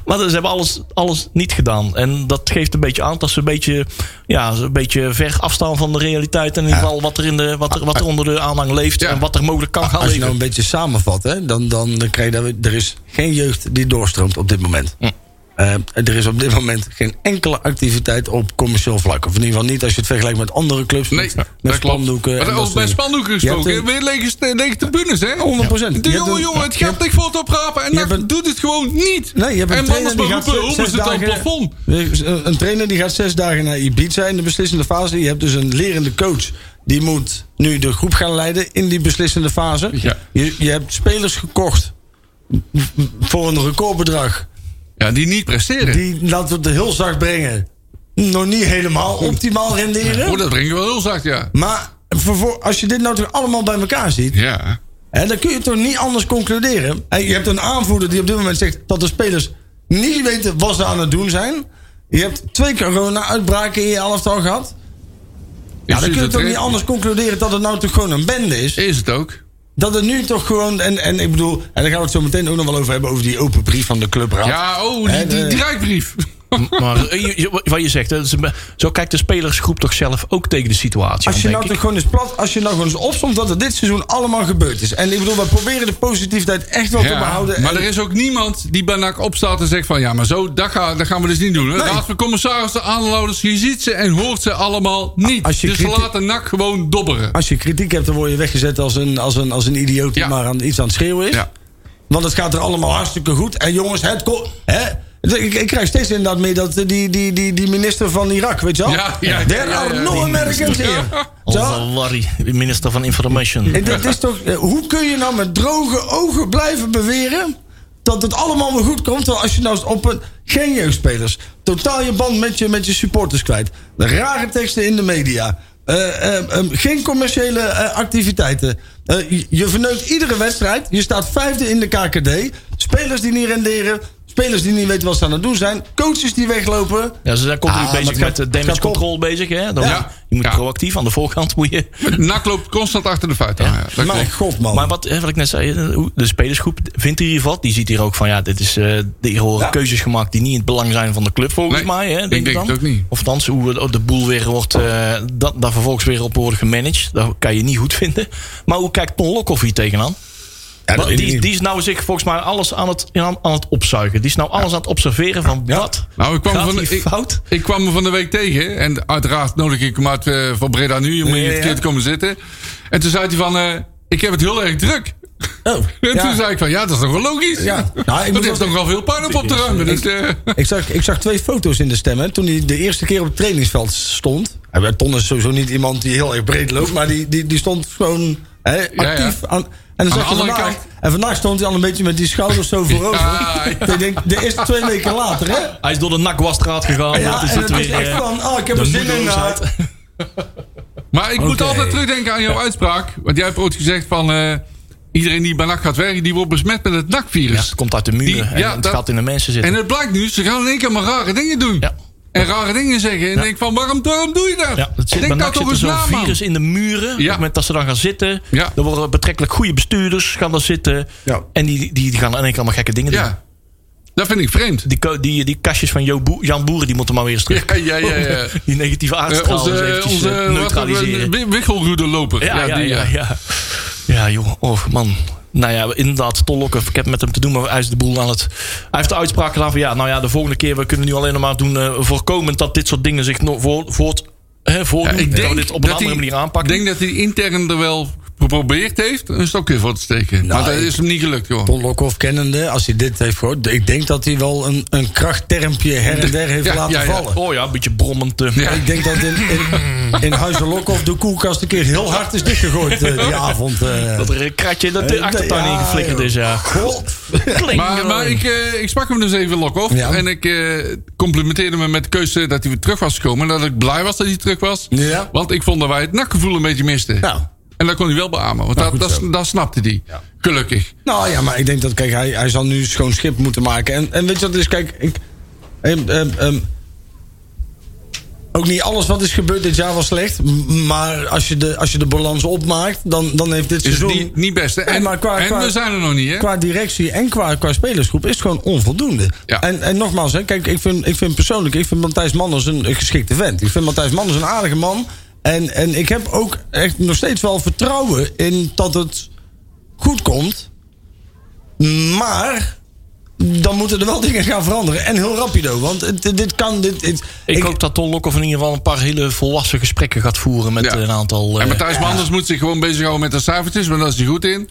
maar ze hebben alles, alles niet gedaan. En dat geeft een beetje aan dat ze een beetje, ja, ze een beetje ver afstaan van de realiteit. En in ieder geval wat er, in de, wat er, wat er onder de aanhang leeft.
Ja.
En wat er mogelijk kan gaan
Als je
leven.
nou een beetje samenvat, hè, dan, dan, dan krijg je dat we- er is geen jeugd die doorstroomt op dit moment.
Hm.
Eh, er is op dit moment geen enkele activiteit op commercieel vlak. Of in ieder geval niet als je het vergelijkt met andere clubs.
Nee,
met, met
dat klopt.
spandoeken. en dat
Maar ook bij
soort dingen.
spandoeken
Je hebt
gesproken.
een-
weer lege, st- lege tribunes, hè?
100%.
De
Je hebt
jongen,
een-
jongen, het
je
gaat
hebt-
dik vol te praten. En
je
NAC
hebt een-
doet het gewoon niet.
Nee, je hebt een
en
trainer
anders maar
die gaat
roepen,
zes,
roepen
zes
ze het aan het
dagen,
plafond.
dus, eh, Een- Een trainer die gaat zes dagen naar Ibiza in de beslissende fase. Je hebt dus een lerende coach. Die moet nu de groep gaan leiden in die beslissende fase.
Ja.
Je, je hebt spelers gekocht voor een recordbedrag.
Ja, die niet presteren.
Die, laten we het heel zacht brengen, nog niet helemaal optimaal
Oh,
renderen.
dat breng je wel heel zacht, ja.
Maar vervol- als je dit nou toch allemaal bij elkaar ziet...
Ja.
Hè, dan kun je toch niet anders concluderen. Hè, je hebt een aanvoerder die op dit moment zegt dat de spelers niet weten wat ze aan het doen zijn. Je hebt twee corona-uitbraken in je elftal gehad. Ja, dan kun je toch niet anders concluderen dat het nou toch gewoon een bende is.
Is het ook.
Dat het nu toch gewoon. En, en ik bedoel, en daar gaan we het zo meteen ook nog wel over hebben. Over die open brief van de clubraad.
Ja, oh, die,
Hè,
die
de-
draaibrief.
Maar eh, je- je- wat je zegt, hè, ze- zo kijkt de spelersgroep toch zelf ook tegen de situatie.
Als je
aan,
nou
denk
toch gewoon eens plat, als je nou gewoon eens opzomt dat er dit seizoen allemaal gebeurd is. En ik bedoel, we proberen de positiviteit echt wel te
Ja,
behouden.
maar
En-
er is ook niemand die bij NAC opstaat en zegt van... ja, maar zo, dat, ga, dat gaan we dus niet doen. hè.
Nee.
Raad van commissarissen, aanhouders, je ziet ze en hoort ze allemaal niet.
Als je
dus
kriti-
we laten NAC gewoon dobberen.
Als je kritiek hebt, dan word je weggezet als een, als een, als een idioot die
Ja.
maar aan, iets aan het schreeuwen is.
Ja.
Want het gaat er allemaal hartstikke goed. En jongens, het ko- hè? Ik, ik krijg steeds inderdaad mee dat eh, die, die, die, die minister van Irak, weet je wel?
Ja, ja, ja,
There
ja,
are
ja.
no Americans here.
ik.
Zo.
Onze Larry, minister van Information.
En dit is toch, eh, hoe kun je nou met droge ogen blijven beweren dat het allemaal weer goed komt? Terwijl als je nou eens op een, geen jeugdspelers, totaal je band met je, met je supporters kwijt, de rare teksten in de media, eh, eh, eh, geen commerciële eh, activiteiten. Eh, je- je verneukt iedere wedstrijd, je staat vijfde in de KKD, spelers die niet renderen. Spelers die niet weten wat ze aan het doen zijn. Coaches die weglopen.
Ja, dus ze zijn
Ah,
continu
maar het
bezig
gaat-
met eh,
het
damage
gaat op.
control bezig. Hè? Dan
Ja.
moet je- je moet
Ja.
proactief aan de voorkant moet je.
NAC loopt constant achter de feiten aan. Ja, dat klopt.
Mijn god, man.
Maar wat, hè, wat ik net zei, eh, hoe- de spelersgroep vindt hier wat. Die ziet hier ook van ja, dit is, eh hier horen
Ja.
keuzes gemaakt die niet in het belang zijn van de club volgens
Nee,
mij. Hè,
ik
denk
denk
dan.
het ook niet.
Of althans, hoe we- oh, de boel weer wordt, eh, dat, daar vervolgens weer op wordt gemanaged. Dat kan je niet goed vinden. Maar hoe kijkt Ton Lokhoff hier tegenaan?
Ja, dat
Want
weet ik
die,
niet.
die is nou zich volgens mij alles aan het, aan, aan het opzuigen. Die is nou alles aan het observeren van wat
Nou, ik kwam
gaat
van de-
hier
ik-
fout?
Ik kwam me van de week tegen. En uiteraard nodig ik hem uit eh, van Breda nu. Om hier
ja,
een keer
ja.
te komen zitten. En toen zei hij van... eh, ik heb het heel erg druk.
Oh,
En
ja.
toen zei ik van... Ja, dat is toch wel logisch.
Ja. Nou, ik
Want
moet
hij heeft
wel-
nog wel veel puin op op te ruimen. Dus, eh,
Ik zag, ik zag twee foto's in de stem. Hè, toen hij de eerste keer op het trainingsveld stond. Hij werd- Ton is sowieso niet iemand die heel erg breed loopt. Maar die, die, die stond gewoon hè, actief.
ja.
Aan, en, dan
Aan de
zag je
andere
vandaag,
kant.
en vandaag stond hij al een beetje met die schouders zo voorover.
Ja, ja.
Ik denk, de eerste twee weken later, hè?
Hij is door de nakwasstraat gegaan.
Ja,
dat is
en
het
het is
weer,
echt
eh,
van, oh, ik heb
de
er zin in.
moedeloosheid.
nou.
maar ik moet
Oké.
altijd terugdenken aan jouw uitspraak. Want jij hebt ooit gezegd van... eh, iedereen die bij NAC gaat werken... die wordt besmet met het
Ja,
NAC-virus.
Dus het komt uit de muren
Die-
en
ja,
het
dat-
gaat in de mensen zitten.
en het blijkt nu... ze gaan in één keer maar rare dingen doen.
Ja.
En rare dingen zeggen. En ik denk van... waarom, waarom doe je dat?
Ja, het
Denk
zit bij
daar
NAC
toch
zit er
eens
zo'n
na, man.
virus in de muren. Op het moment dat ze dan gaan zitten.
Ja.
Dan worden betrekkelijk goede bestuurders gaan daar zitten.
Ja.
En die, die, die gaan in één keer allemaal gekke dingen doen.
Ja. Dat vind ik vreemd.
Die, ko- die, die kastjes van Jo Boer- Jan Boeren, die moeten maar weer eens terug.
Ja, ja, ja, ja.
Die negatieve
Eh,
aardstralen eens
onze
eventjes
onze
eh,
wat hadden
neutraliseren.
we, wichelroederloper.
Ja, ja,
die,
ja,
eh,
ja. Ja, joh. Oh, man. Nou ja, inderdaad, Tollokken. Ik heb met hem te doen, maar hij is de boel aan het... Hij heeft de uitspraak gedaan van... Ja, nou ja, de volgende keer... We kunnen nu alleen nog maar doen... eh, voorkomen dat dit soort dingen zich nog voor, voort... Hè, voordoen.
ik
dat
denk
we dit op een andere
hij,
manier aanpakken.
Ik denk dat hij intern er wel geprobeerd heeft een stokje voor te steken. maar dat
ik-
is hem niet gelukt, joh.
Ton Lokhoff kennende, als hij dit heeft gehoord... ik denk dat hij wel een, een krachttermpje her en der heeft
Ja,
laten
ja, ja.
vallen.
Oh ja, een beetje brommend. eh.
Ja.
Ik denk dat in, in, in Huizen Lokhoff de koelkast een keer heel hard is dichtgegooid eh, die avond. eh.
Dat er een kratje dat de
Eh,
achtertuin
ja,
ingeflikkerd is, ja.
God.
Klinkt
Maar, maar
alleen.
ik, eh, ik sprak hem dus even lok op.
Ja.
En ik eh, complimenteerde me met de keuze dat hij weer terug was gekomen. En dat ik blij was dat hij terug was.
Ja.
Want ik vond dat wij het nakgevoel een beetje misten.
Nou.
En dat kon hij wel beamen. Want
Nou, goed
dat, dat,
zo.
dat snapte hij. Gelukkig.
Nou ja, maar ik denk dat, kijk, hij, hij zal nu schoon schip moeten maken. En, en weet je wat het is, kijk, ik... em, em, em, ook niet alles wat is gebeurd dit jaar was slecht. m- Maar als je de, als je de balans opmaakt, dan, dan heeft dit
Is het
seizoen...
niet, niet best. hè?
Nee,
En,
maar qua-
en
qua-
we zijn er nog niet, hè?
Qua directie en qua, qua spelersgroep is het gewoon onvoldoende.
Ja.
En, en nogmaals, hè, kijk, ik vind, ik vind persoonlijk, ik vind Matthijs Manners een, een geschikte vent. Ik vind Matthijs Manners een aardige man. En, en ik heb ook echt nog steeds wel vertrouwen in dat het goed komt. Maar dan moeten er wel dingen gaan veranderen. En heel rapido, want het- dit, dit kan... Dit, dit-
ik, hoop dat Ton Lokhoff in ieder geval een paar hele volwassen gesprekken gaat voeren met
Ja.
een aantal... eh,
En Matthijs Manders moet zich gewoon bezighouden met de cijfertjes, want daar is hij goed in.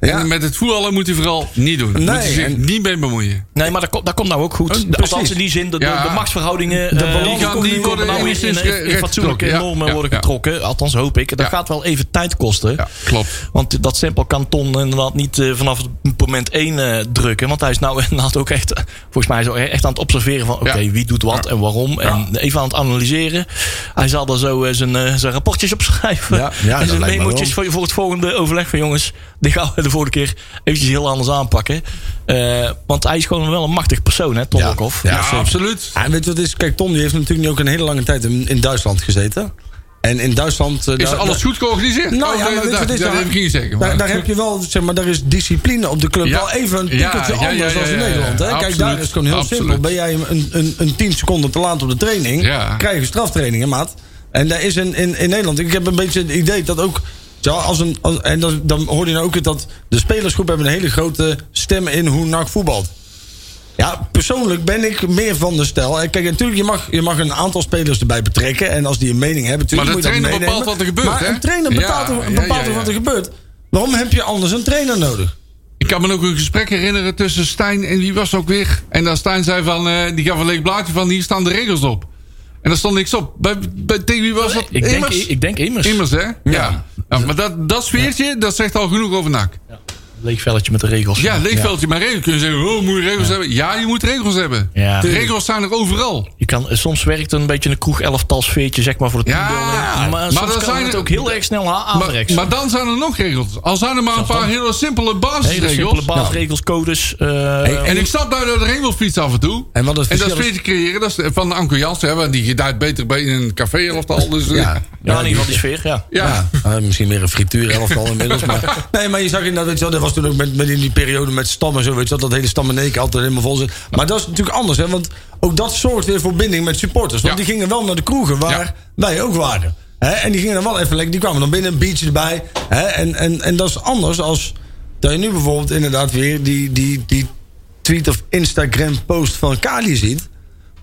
Ja.
En met het voetballen moet hij vooral niet doen.
Nee,
moet hij zich
en-
niet mee bemoeien.
Nee, maar dat, komt- dat komt nou ook goed.
precies.
Althans in die zin, de, de-
Oh, Ja.
de machtsverhoudingen... eh,
balans
die gaan-
komt
die
nu
worden nou weer in,
enigszins
in, in
eh, recht
fatsoenlijke
getrokken. Ja,
normen
ja,
worden
ja.
getrokken. Althans hoop ik. Dat
Ja.
gaat wel even tijd kosten.
Ja, klopt.
Want dat stempel kan Ton inderdaad niet eh, vanaf het moment één eh, drukken. Want hij is nou inderdaad ook echt, eh, volgens mij, zo echt aan het observeren van: oké,
Ja.
wie doet wat en waarom. En even aan het analyseren. Hij zal daar zo eh, zijn, eh, zijn rapportjes op schrijven.
Ja, ja,
en
dat
zijn
lijkt me
memootjes voor, voor het volgende overleg van jongens. Die gaan we de vorige keer eventjes heel anders aanpakken. Eh, want hij is gewoon wel een machtig persoon, hè, Ton
Ja.
Lokhoff.
Ja,
Ja, zeker.
absoluut.
Ah, en weet je wat het is? Kijk, Tom die heeft natuurlijk nu ook een hele lange tijd in, in Duitsland gezeten. En in Duitsland... eh,
Is
daar-
alles goed georganiseerd?
Nou
Oh,
ja, maar
nee,
weet je
dat,
wat het is?
dat
Daar-
heb ik niet zeggen.
Daar,
maar-
daar heb je wel, zeg maar, daar is discipline op de club
Ja.
wel even een
Ja,
tikkeltje
ja, ja,
anders dan
ja,
in
ja,
Nederland. Hè?
ja,
Kijk,
absoluut.
daar is het gewoon heel
Absoluut.
simpel. Ben jij een, een, een 10 seconden te laat op de training,
Ja.
krijg je straftrainingen, maat. En daar is in, in, in Nederland, ik heb een beetje het idee dat ook... Ja, als een, als- en dan, dan hoor je nou ook het dat de spelersgroep hebben een hele grote stem in hoe NAC voetbalt. Ja, persoonlijk ben ik meer van de stijl. En Kijk, natuurlijk, je mag, je mag een aantal spelers erbij betrekken. En als die een mening hebben, natuurlijk
Maar de
moet je dat
trainer
meenemen.
bepaalt wat er gebeurt,
Maar
hè?
een trainer bepaalt
Ja,
er-
ja,
bepaalt
ja,
er wat
ja.
er gebeurt. Waarom heb je anders een trainer nodig?
Ik kan me ook een gesprek herinneren tussen Stijn en wie was het ook weer. En daar Stijn zei van, eh, die gaf een leeg blaadje van, hier staan de regels op. En daar stond niks op. Bij, bij, tegen wie was dat?
Ik denk,
Immers?
ik denk immers.
Immers, hè? Ja. Ja, maar dat, dat sfeertje, dat zegt al genoeg over NAC.
Leeg velletje met de regels.
Ja, leegveldje, maar regels. Kun je zeggen, oh, moet je regels hebben? Ja, je moet regels hebben.
Ja.
De regels zijn er overal.
Je kan, eh, soms werkt een beetje een kroeg elftal sfeertje zeg maar, voor de
Ja,
teambuilding.
maar
maar soms
dan
kan
zijn
het
er-
ook heel erg snel a-
Maar,
aanrechts.
maar dan zijn er nog regels. Al zijn er maar een
Zelfs
paar
dan.
hele simpele
Hele simpele Nou.
basisregels.
baasregels, codes. eh,
En ik stap daar door de ringwielfiets af en toe.
En wat het
en dat
verschil is-
sfeertje creëren, dat is van Anko Jansen. hè, want Die duidt beter bij in een café of al. Dus, eh,
Ja.
ja, in ieder geval die sfeer, ja.
ja.
Ja, eh, misschien weer een frituur elftal inmiddels. Maar, nee, maar je zag inderdaad, weet je wel, dat was toen ook met, met in die periode met stammen en zo, weet je wel, dat hele stammeneken altijd helemaal vol zit. Maar dat is natuurlijk anders, hè, want ook dat zorgt weer voor binding met supporters. Want
Ja.
die gingen wel naar de kroegen waar
Ja.
wij ook waren. Hè, en die gingen dan wel even lekker, die kwamen dan binnen, een biertje erbij. Hè, en, en, en dat is anders als dat je nu bijvoorbeeld inderdaad weer die, die, die tweet of Instagram post van Kali ziet.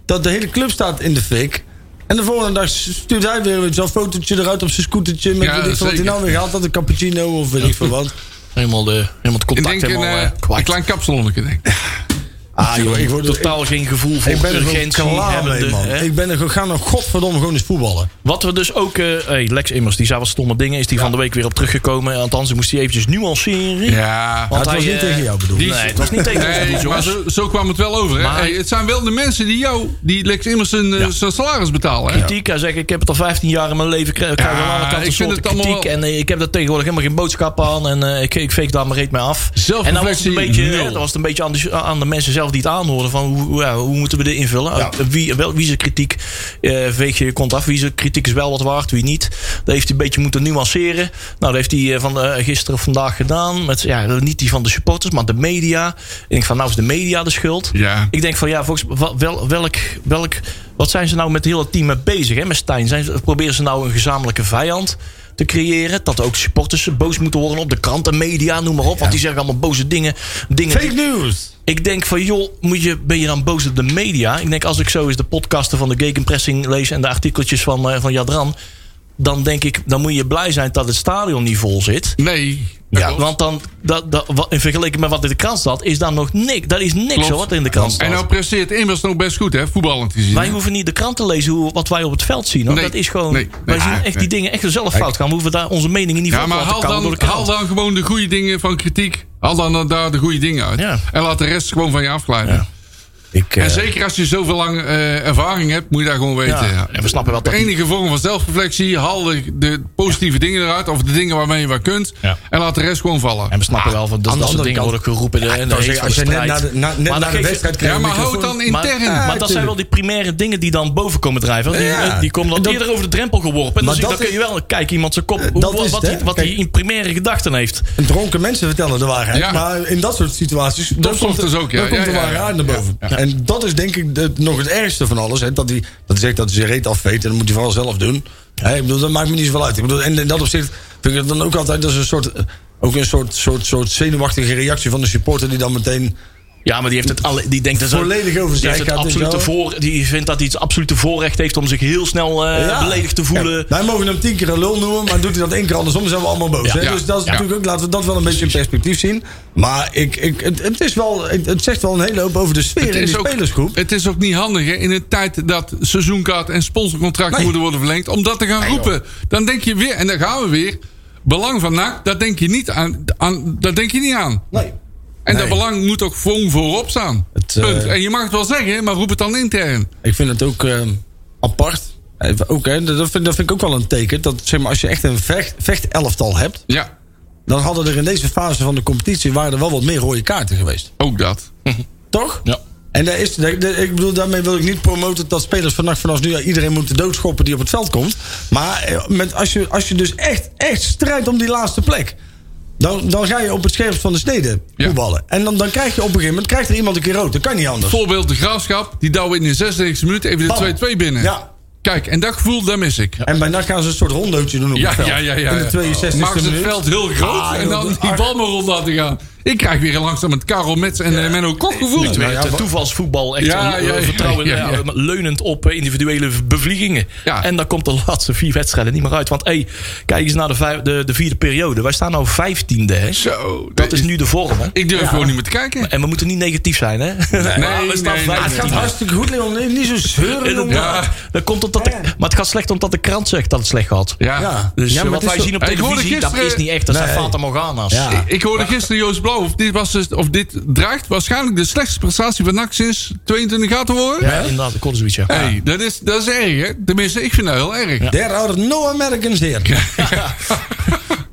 Dat de hele club staat in de fik. En de volgende dag stuurt hij weer weet je wel, een fotootje eruit op zijn scootertje. Met weet ik
Ja,
veel wat hij
zeker.
nou weer had. Dat een cappuccino of weet ik veel wat.
Helemaal, de, helemaal het
Ik
contact
denk een,
helemaal
eh,
eh,
een
kwijt.
klein kapsalonnetje. denk ik.
Ah joh, ik word er-
Totaal geen gevoel voor
Ik ben er gewoon
urgentie
klaar mee,
hebbende,
man.
hè.
Ik ben er gewoon, ga nog godverdomme gewoon eens voetballen.
Wat we dus ook... eh, hey, Lex Immers, die zei wat stomme dingen. Is die van de week weer op teruggekomen. Althans, ik moest die eventjes nuanceren.
Ja.
Want
het was niet
eh,
tegen jou bedoeld.
Nee, het was niet tegen ons
Nee,
bedoeld,
maar
jongens.
zo, zo kwam het wel over. Hè?
Maar-
Hey, het zijn wel de mensen die jou, die Lex immers zijn, eh, zijn salaris betalen. Hè?
Kritiek, hij zegt ik heb het al 15 jaar in mijn leven, ik krijg
Ja,
aan alle
ik
kanten
vind
soorten
het allemaal
kritiek
wel-
en eh, ik heb daar tegenwoordig helemaal geen boodschap aan en eh, ik, ik veeg daar mijn reet mee af. En dan was het
Zelfreflectie
een beetje,
nul.
hè, dan was het een beetje aan, de, aan de mensen zelf die het aanhoorden van hoe, hoe- ja, hoe moeten we dit invullen? Eh, Wie, wel, wie zijn kritiek eh, veeg je je kont af? Wie zijn kritiek is wel wat waard, wie niet? Dat heeft hij een beetje moeten nuanceren. Nou, dat heeft hij eh, van eh, gisteren of vandaag gedaan met ja, niet die van de supporters, maar de media. En ik denk van nou is de media de schuld.
Ja.
Ik denk van ja, volgens wa- wel, welk, welk, wat zijn ze nou met het hele team mee bezig? Hè? Met Stijn, zijn ze, proberen ze nou een gezamenlijke vijand te creëren? Dat ook supporters boos moeten worden op de kranten, media, noem maar op. Want die zeggen allemaal boze dingen. dingen die-
Fake news!
ik denk van joh, moet je, ben je dan boos op de media? Ik denk als ik zo eens de podcasten van de Gegenpressing lees en de artikeltjes van, eh, van Jadran. Dan denk ik, dan moet je blij zijn dat het stadion niet vol zit.
Nee. dat
Ja.
klopt.
Want dan, dat, dat, wat, in vergelijking met wat in de krant staat, is daar nog niks. Daar is niks
Klopt.
hoor, wat in de krant staat.
En nou presteert immers nog best goed, hè? Voetballend gezien.
Wij hoeven niet de krant te lezen hoe, wat wij op het veld zien. Hoor.
Nee.
dat is gewoon,
Nee.
Wij
Nee.
zien echt
Nee.
die dingen echt zelf fout gaan. We hoeven daar onze meningen niet
Ja,
van te
maar
laten
haal
komen door
dan,
de krant.
haal dan gewoon de goede dingen van kritiek. Haal dan eh, daar de goede dingen uit.
Ja.
En laat de rest gewoon van je afglijden.
Ik, eh,
En zeker als je zoveel lang eh, ervaring hebt, moet je daar gewoon weten.
Ja, en we snappen wel dat die-
Enige vorm van zelfreflectie, haal de, de positieve dingen eruit. Of de dingen waarmee je wat kunt.
Ja.
En laat de rest gewoon vallen.
En we snappen wel van, dat,
aan de
dat
andere
soort dingen
kant-
worden geroepen. en de
nou,
heet
zeg,
van
als
de
je net
strijd.
na de, na, net na
Maar dan
de
geef je-
wedstrijd krijgt
Ja, maar
een
hou het
microfoon.
dan intern.
Maar, maar dat zijn wel die primaire dingen die dan boven komen drijven. Die,
Ja.
eh, die komen dan
Dat-
eerder over de drempel geworpen. En dan,
Maar
zie, dan
dat Eh,
kun je wel kijken iemand zijn kop. hoe-
dat is
wat
het,
hij-
hè?
wat hij
Kijk.
in primaire gedachten heeft.
En dronken mensen vertellen de waarheid.
Ja.
Maar in dat soort situaties. dan
soms
komt,
dus ook, ja.
Dan komt
Ja,
de
ja,
waarheid
ja.
naar boven. En dat is denk ik de- nog het ergste van alles. Hè? Dat hij dat hij zegt dat hij zijn reet afveet. En dat moet hij vooral zelf doen. Hè, ik bedoel, dat maakt me niet zoveel uit. Ik bedoel, en in dat opzicht vind ik het dan ook altijd. Dat is een soort. eh, Ook een soort, soort, soort zenuwachtige reactie van de supporter. die dan meteen.
Ja, maar die heeft het alle, die denkt dat ze-
Volledig over
die
zijn
heeft het
gaat, weet je
absolute
wel.
voor, Die vindt dat hij het absolute voorrecht heeft om zich heel snel eh,
Ja.
beledigd te voelen.
Ja, wij mogen hem tien keer een lul noemen, maar doet hij dat één keer andersom, dan zijn we allemaal boos.
Ja.
hè?
Ja.
Dus dat is
Ja.
natuurlijk ook, laten we dat wel een beetje in perspectief zien. Maar ik, ik, het, het is wel, het, het zegt wel een hele hoop over de sfeer in die spelersgroep.
het is ook niet handig hè, in een tijd dat seizoenkaart en sponsorcontracten
Nee.
moeten worden verlengd. Om dat te gaan roepen. Dan denk je weer, en dan gaan we weer. Belang van NAC, dat denk je niet aan. aan dat denk je niet aan.
Nee.
En dat
Nee.
belang moet ook gewoon voorop staan.
Het, eh,
Punt. En je mag het wel zeggen, maar roep het dan intern.
Ik vind het ook eh, apart. Even Ook, hè, dat, vind, dat vind ik ook wel een teken. Dat zeg maar, als je echt een vecht, vechtelftal hebt.
Ja,
dan hadden er in deze fase van de competitie. waren er wel wat meer rode kaarten geweest.
ook dat.
Toch?
Ja.
En daar is, daar- daar- ik bedoel, daarmee wil ik niet promoten dat spelers vannacht vanaf nu iedereen moeten doodschoppen die op het veld komt. Maar eh, met, als, je, als je dus echt, echt strijdt om die laatste plek. Dan, dan ga je op het scherpst van de snede
Ja.
voetballen. En dan, dan krijg je op een gegeven moment krijgt er iemand een keer rood. Dat kan niet anders.
Voorbeeld de graafschap, die douwen in de 96 minuut even
Bam.
de 2-2 binnen.
Ja.
Kijk, en dat gevoel, daar mis ik.
En bij NAC gaan ze een soort rondootje doen op
Ja,
het veld.
ja, ja, ja.
In de 62e
Maak ze het
minuut.
veld heel groot
Ah,
en
joh,
dan
dat-
die bal maar rond laten gaan. Ik krijg weer langzaam het Karel Mets en eh, Menno Kok gevoel.
Het werd eh, toevalsvoetbal echt
Ja,
een,
ja, ja,
vertrouwen
ja, ja.
eh, leunend op eh, individuele bevliegingen.
Ja.
En dan komt de laatste vier wedstrijden niet meer uit. Want hey, kijk eens naar de, vijf- de, de vierde periode. Wij staan nou vijftiende. Hè?
Zo,
Dat is nu de vorm. Hè?
Ik durf gewoon niet meer te kijken.
En we moeten niet negatief zijn. Hè?
nee,
we
Ah,
nee,
staan
het gaat
vijftiende.
hartstikke goed, Leon. Nee, Niet zo zeuren,
En
jongen.
dan-
Ja.
dan komt omdat de, maar het gaat slecht omdat de krant zegt dat het slecht gaat.
Ja.
Ja.
Dus eh,
maar
wat
het
wij
is zo-
zien op
Ik hoorde
televisie, dat
gisteren-
is niet echt. Dat zijn
Nee.
Fata Morgana's.
Ja.
Ik hoorde gisteren Joost Blauw of dit, was dus, of dit draagt waarschijnlijk de slechtste prestatie van NAC sinds 22 gaat te worden.
Ja, inderdaad, ik kon zoiets, ja.
Hey, dat, is, dat is erg, hè? Tenminste, ik vind dat heel erg.
There are no Americans here.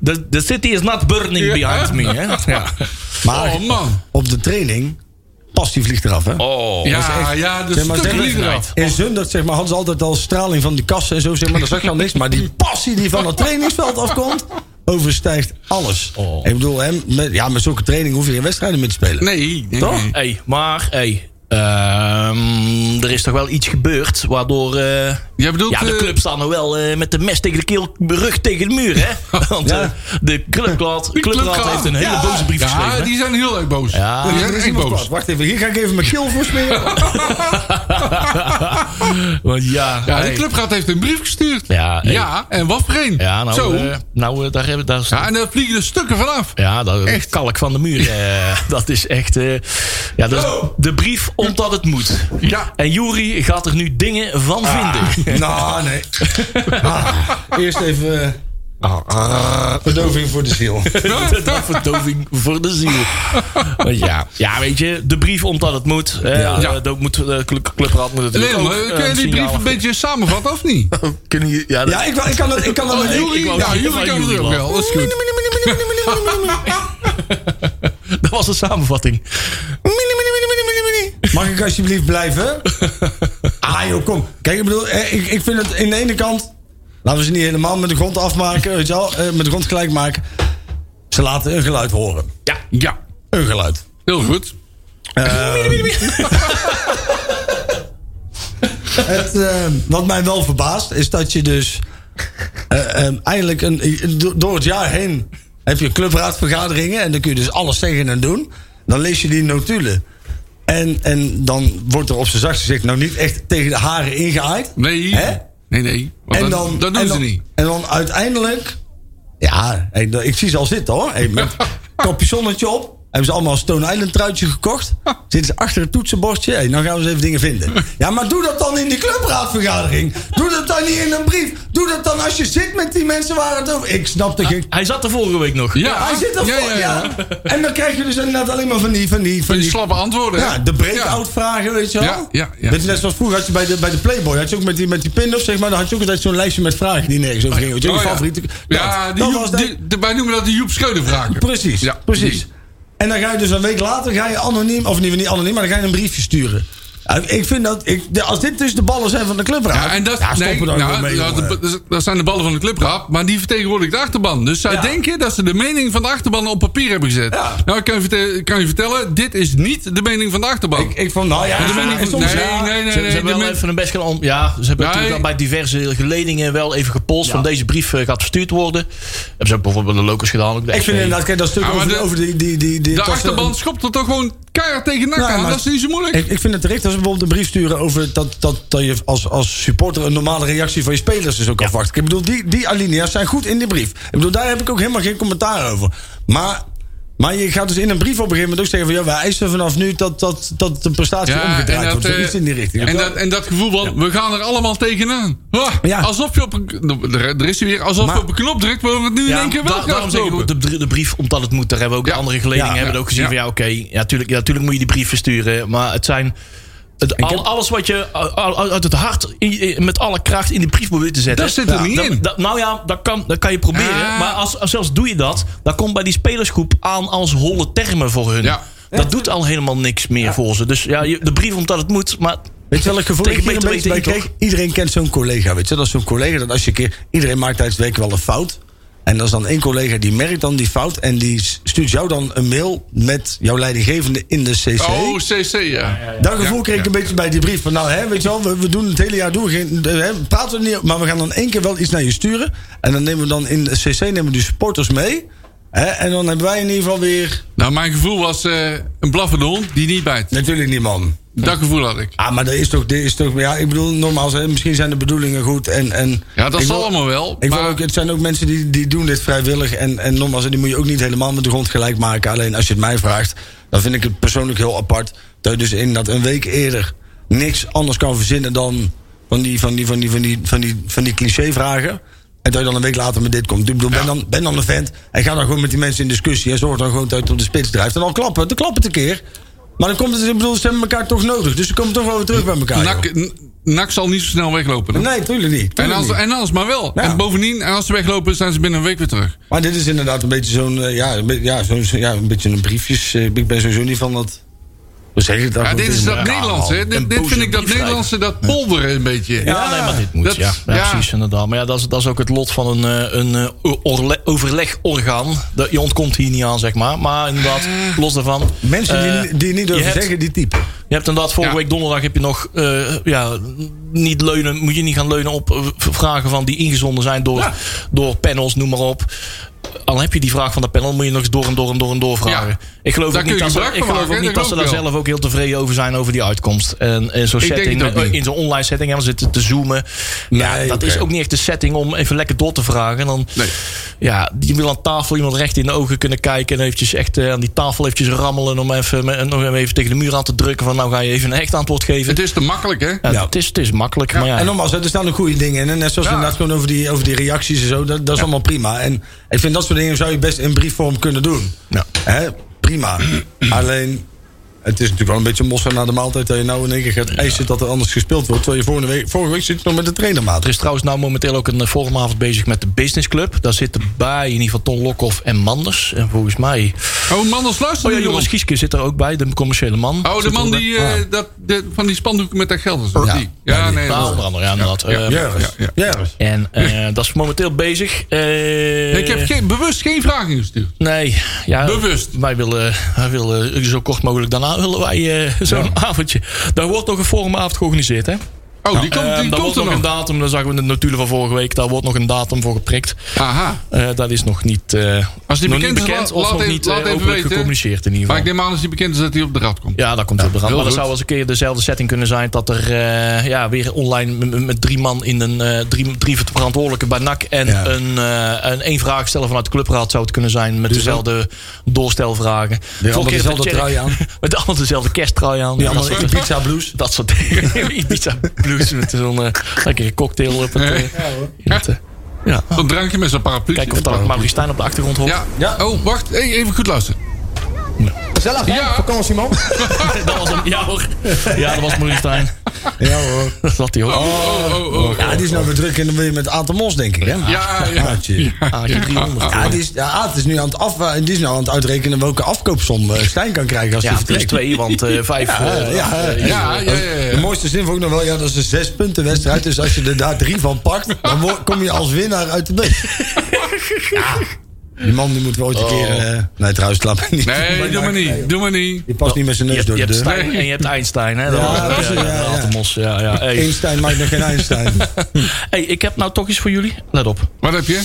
The, the city is not burning behind me, hè. Ja.
Maar
Oh, man.
op de training, pas die vliegt eraf, hè?
Oh.
ja, ja, de
Zeg maar,
stukken
zeg
liever
maar.
af.
In Zundert zeg maar, hadden ze altijd al straling van die kassen en zo. Zeg maar, dan zag je al niks. Maar die passie die van het trainingsveld afkomt, overstijgt alles. Ik bedoel, hè, met, ja, met zulke training hoef je geen wedstrijden meer te spelen.
Oh. Nee, nee,
Toch?
nee.
Hey, maar, hey, ehm, er is toch wel iets gebeurd waardoor... eh,
Jij bedoelt,
ja, de
eh,
club staat nou wel eh, met de mes tegen de keel, rug tegen de muur, hè? Want
Ja.
eh, de clubraad, clubraad heeft een hele
Ja.
boze brief geschreven.
Ja,
hè?
die zijn heel erg boos.
Ja.
die
Ah, Er
zijn
is
echt
iemand
boos.
kwaad. Wacht even, hier ga ik even mijn keel voor smeren.
Want ja,
Ja,
hey.
de clubraad heeft een brief gestuurd.
Ja, hey.
ja en wat voor een.
Ja, nou,
Zo.
eh, nou eh, daar hebben daar
ja, en daar vliegen de stukken vanaf.
Ja, dat
Echt?
kalk van de muur. eh, dat is echt. eh, ja, dat is de brief omdat het moet.
Ja. Ah.
En Jury gaat er nu dingen van vinden.
nou, nee. Ah, eerst even eh, ah, verdoving voor de ziel.
Dat verdoving voor de ziel. Want ja, ja, weet je, de brief omdat het moet. hè,
Ja.
eh, dat moet de club, clubraad moet natuurlijk
Leon,
ook,
eh,
eh,
kun je die brief
signaal
een Oh,
afgeven.
beetje samenvatten of niet?
Kunnen jullie- ja, dat-
Ja, ik, wou- ik kan dat, ik kan dat
Oh,
met
Jury,
ik wou
ja,
zeggen
Jury
van
kan het
Jury
ook wel. Dat is goed.
dat was de samenvatting.
Mag ik alsjeblieft blijven? Ah joh, kom. Kijk, ik bedoel, eh, ik, ik vind het aan de ene kant... Laten we ze niet helemaal met de grond afmaken, weet je wel. eh, met de grond gelijk maken. Ze laten een geluid horen.
Ja. ja,
Een geluid.
heel goed.
Het, eh, wat mij wel verbaast, is dat je dus... eh, eh, eindelijk, een, do- door het jaar heen... heb je clubraadvergaderingen. En dan kun je dus alles tegen en doen. Dan lees je die notulen. En, en dan wordt er op zijn zachtst gezegd... nou niet echt tegen de haren ingehaaid.
Nee,
Hè?
nee, nee. Want
en
dat-
dan,
dat doen
en
ze
dan-
niet.
En dan uiteindelijk. Ja, ik, ik zie ze al zitten hoor. Hey, met capuchonnetje op. Hebben ze allemaal een Stone Island truitje gekocht. Zitten ze achter het toetsenbordje. Hey, nou gaan we eens even dingen vinden. Ja, maar doe dat dan in die clubraadvergadering. Doe dat dan niet in een brief. Doe dat dan als je zit met die mensen waar het over... Ik snap dat je...
Hij zat er vorige week nog.
Ja,
Hij zit er
ja, ja, ja.
En dan krijg je dus inderdaad alleen maar van die... Van die,
Van die slappe antwoorden. hè?
ja, de breakout vragen, weet je wel.
Ja, ja, ja.
Dit is net zoals vroeger had je bij de, bij de Playboy. Had je ook met die, met die pin-up, zeg maar. Dan had je ook altijd zo'n lijstje met vragen die nergens over gingen. Weet je,
Oh,
je
ja.
favoriete...
Ja,
dat-
die
dat
Joep-
was dat-
die- de- wij noemen dat de Joep Schreuder vragen.
Precies,
Ja,
precies. En dan ga je dus een week later, ga je anoniem... Of niet, niet anoniem, maar dan ga je een briefje sturen. Ja, Ik vind dat... Ik, de- als dit dus de ballen zijn van de clubraad...
Ja, en dat,
ja, stoppen
nee,
daar ook
nou,
wel mee,
dat-
jongen.
dat, dat zijn de ballen van de clubraad, maar die vertegenwoordigt de achterban. Dus zij
Ja.
denken dat ze de mening van de achterban op papier hebben gezet.
Ja.
Nou, ik kan je, vertel- kan je vertellen, dit is niet de mening van de achterban.
ik, ik van, nou ja...
de mening
en
van-
soms,
nee,
ja,
nee, nee,
Ze,
nee,
ze hebben
de
wel
men-
even een best gedaan. om- Ja, ze hebben
Ja,
natuurlijk
ik-
wel bij diverse geledingen wel even gepolst. Van deze brief eh, gaat verstuurd worden. Hebben ze ook bijvoorbeeld de locus gedaan. Ook de
Ik
SC.
vind inderdaad, kijk, dat stuk
Ja, maar
over,
de-
over die... die, die, die
de
dat-
achterban schopt er toch gewoon keihard tegen nak
Ja,
aan.
maar-
Dat is niet zo moeilijk.
Ik, ik vind het terecht als we bijvoorbeeld een brief sturen over dat, dat, dat je als, als supporter een normale reactie van je spelers dus ook afwacht. Ik bedoel, die, die alinea's zijn goed in die brief. Ik bedoel, daar heb ik ook helemaal geen commentaar over. Maar, maar je gaat dus in een brief op een gegeven moment ook zeggen van ja, wij eisen vanaf nu dat, dat, dat de prestatie omgedraaid wordt.
eh,
Of iets in die richting.
En dat, en dat gevoel van, we gaan er allemaal tegenaan. Ah,
Ja.
Alsof je op een... Er, er is hij weer. Alsof
Maar-
je op een knop drukt, maar we het nu in
Ja,
één keer wel
da- daarom
gaan
zeg ik
lopen.
ook de, br- de brief, omdat het moet. Daar hebben we ook
Ja.
de andere geledingen
Ja,
hebben
ja.
ook gezien
Ja.
van ja, oké. ja, tuurlijk, ja, tuurlijk moet je die brief versturen. Maar het zijn... Het, al- alles wat je al- al- uit het hart i- i- met alle kracht in die brief probeert te zetten.
Dat zit er niet
dat-
in.
dat- nou ja, dat kan, dat kan je proberen.
Ah.
Maar als, als zelfs doe je dat, dan komt bij die spelersgroep aan als holle termen voor hun.
Ja.
Dat doet al helemaal niks meer voor ze. Dus ja, je- de brief omdat het moet, maar...
Weet je welk gevoel
Tegen
ik hier een
beter
beetje bij
weten in,
kreeg? Iedereen kent zo'n collega, weet je. Dat is zo'n collega dat als je een keer... Iedereen maakt tijdens de week wel een fout. En dat is dan één collega die merkt dan die fout... en die stuurt jou dan een mail met jouw leidinggevende in de cc.
Oh, CC, ja.
Dat gevoel kreeg ik een beetje bij die brief. Van nou, hè, weet je wel, we, we doen het hele jaar doen we geen, eh, hè, praten we niet, maar we gaan dan één keer wel iets naar je sturen. En dan nemen we dan in de CC nemen we die supporters mee. Hè, en dan hebben wij in ieder geval weer
Nou, mijn gevoel was eh, een blaffende hond die niet bijt.
natuurlijk niemand.
Dat gevoel had ik.
Ah, maar dat is toch, dat is toch, ja, ik bedoel, normaal, zijn- misschien zijn de bedoelingen goed en en.
Ja, dat
ik
zal
wil-
allemaal wel.
Ik wil
maar
ook, het zijn ook mensen die, die doen dit vrijwillig. En, en nogmaals, die moet je ook niet helemaal met de grond gelijk maken. Alleen als je het mij vraagt, dan vind ik het persoonlijk heel apart. Dat je dus in dat een week eerder niks anders kan verzinnen dan van die, van die, van die, van die, van die, van die clichévragen. En dat je dan een week later met dit komt. Ik bedoel, ben, dan, ben dan een vent. En ga dan gewoon met die mensen in discussie. En zorg dan gewoon dat je het op de spits drijft. En dan klappen, dan klappen het een keer. Maar dan komt het, ik bedoel, ze hebben elkaar toch nodig. Dus ze komen toch wel weer terug bij elkaar.
Nak, Nak zal niet zo snel weglopen.
joh.
hè?
Nee, tuurlijk niet.
en,
tuurlijk
als,
niet.
en als maar wel.
Ja.
En bovendien, en als ze weglopen, zijn ze binnen een week weer terug.
Maar dit is inderdaad een beetje zo'n. eh, Ja, een beetje- ja, zo'n, zo- ja, een beetje een briefjes. eh, Ik ben sowieso niet van dat. Hoe zeg je dat?
Ja,
goed
dit
in,
is dat
eh,
Nederlandse. hè? Dit, dit vind ik dat
positief
Nederlandse, dat polderen een beetje.
Ja, nee, maar dit moet.
dat-
ja. Ja,
ja.
precies, inderdaad. Maar ja, dat is, dat is ook het lot van een, eh, een eh, oorle- overlegorgaan. Dat- Je ontkomt hier niet aan, zeg maar. Maar inderdaad,
Ah.
los daarvan.
Mensen die,
eh,
die niet durven
je hebt-
zeggen, die typen.
Je hebt inderdaad vorige
Ja.
week donderdag heb je nog eh, ja, niet leunen, moet je niet gaan leunen op eh, v- vragen van die ingezonden zijn door, door panels, noem maar op. Al heb je die vraag van de panel, moet je nog eens door en door en door en door vragen.
Ja.
Ik geloof
Daar
ook niet
kun je
dat ze,
gebruik
ik
van
geloof
maken,
ook niet
dat
dat ze
geloof
daar
ik wel.
zelf ook heel tevreden over zijn over die uitkomst. En in zo'n
Ik denk
setting,
het ook
eh,
niet.
in zo'n online setting, ja, we zitten te zoomen. Ja,
Nee,
dat
oké.
is ook niet echt de setting om even lekker door te vragen. En dan,
Nee.
ja, je wil aan tafel iemand recht in de ogen kunnen kijken. En eventjes echt eh, aan die tafel eventjes rammelen. Om even, me- nog even tegen de muur aan te drukken. Van nou ga je even een echt antwoord geven.
Het is te makkelijk, hè?
Ja, Het, is, het is makkelijk. Maar ja,
En nogmaals, hè, er staan ook goede dingen in. En net zoals
Ja.
inderdaad gewoon over die, over die reacties en zo. Dat, dat is allemaal prima. En ik vind dat soort dingen zou je best in briefvorm kunnen doen.
Ja.
Hè? Prima. Alleen, het is natuurlijk wel een beetje mossen na de maaltijd. Dat je nou in één keer gaat eisen dat er anders gespeeld wordt. Terwijl je vorige week, vorige week zit je nog met de trainermaat.
er is trouwens nou momenteel ook een eh, forumavond bezig met de Business Club. Daar zitten bij in ieder geval Ton Lokhoff en Manders. En volgens mij...
Oh, man, als luister
Oh ja,
niet
Joris
erop.
Kieske zit er ook bij. De commerciële man.
Oh, de
Zit er
man
ook bij. Ah.
die, eh, dat, de- van die spandoeken met dat geld. en zo.
Ja.
Die. Ja,
Ja, die-
nee.
Nou,
dat-
onder andere, ja, inderdaad. Eh,
Ja, ja, ja.
En eh, dat is momenteel bezig. Eh,
Ik heb geen, bewust geen vraag ingestuurd.
Nee, ja,
Bewust.
Wij willen, wij willen zo kort mogelijk daarna willen wij eh, zo'n avondje. Daar wordt nog een forumavond georganiseerd, hè?
Oh, die komt,
Eh,
die
daar
komt
wordt
er
nog, een
nog.
datum, dat zagen we in de notulen van vorige week. Daar wordt nog een datum voor geprikt.
Aha.
Eh, dat is nog niet, eh,
Als die
nog
bekend
niet
is,
bekend
la-
of
laat
nog
even-
niet
laat
eh,
even
openlijk
weten.
gecommuniceerd in ieder
Maar ik
geval.
neem aan als die bekend is dat hij op de rad komt.
Ja, daar komt het op de rand.
heel
Maar dat
goed.
zou wel eens een keer dezelfde setting kunnen zijn... dat er eh, ja, weer online m- m- met drie man in een... eh, drie, drie verantwoordelijken bij NAC... en
Ja.
een, eh, een één vraagsteller vanuit de clubraad zou het kunnen zijn...
Dus
met dezelfde doorstelvragen. Vorige
allemaal
keer
dezelfde
met Tjerk-
trui aan.
Met allemaal dezelfde kersttrui aan.
Die
Dat
allemaal in de
soort-
pizza blues.
dat soort dingen. Ibiza blues met zo'n eh, lekkere cocktail op het... eh, in het, eh, ja.
Een drankje met zo'n paraplu.
Kijken of daar Maurice Stijn op de achtergrond hoort.
Ja. Oh, wacht. Hey, even goed luisteren.
Gezellig, hè?
Ja.
Vakantie, man.
Dat was hem. Ja hoor. Ja, dat was Maurice Stijn.
Ja hoor.
Dat zat hij hoor.
Oh, oh, oh.
Ja, die is nou weer druk in de, met Aad de Mos, denk ik. Hè?
Ja, ja.
Ah, tjie.
Aardje 300.
Ja, die is, ja, Aad is nu aan het, af, die is nou aan het uitrekenen welke afkoopsom eh, Stijn kan krijgen als hij
Ja, plus
vertrekt.
twee, want eh vijf.
Ja, ja,
eh,
ja.
Ja, ja, ja, ja.
De mooiste zin vond ik nog wel, ja, dat is een zes punten wedstrijd. Dus als je er daar drie van pakt, dan wo- kom je als winnaar uit de bus. Ja. Die man die moet wel ooit een keer... eh, nee, trouwens, laat me niet.
Oh. Nee, doe maar niet. Doe maar niet.
Die past niet met zijn
Je,
neus
hebt-
door de
je hebt
deur.
Stijn en je hebt Einstein. Hè? Dat
Ja,
was ook,
precies,
eh,
ja, ja.
Atomos, ja, ja. Hey.
Einstein maakt nog geen Einstein.
Hey, ik heb nou toch iets voor jullie. Let op.
Wat heb je?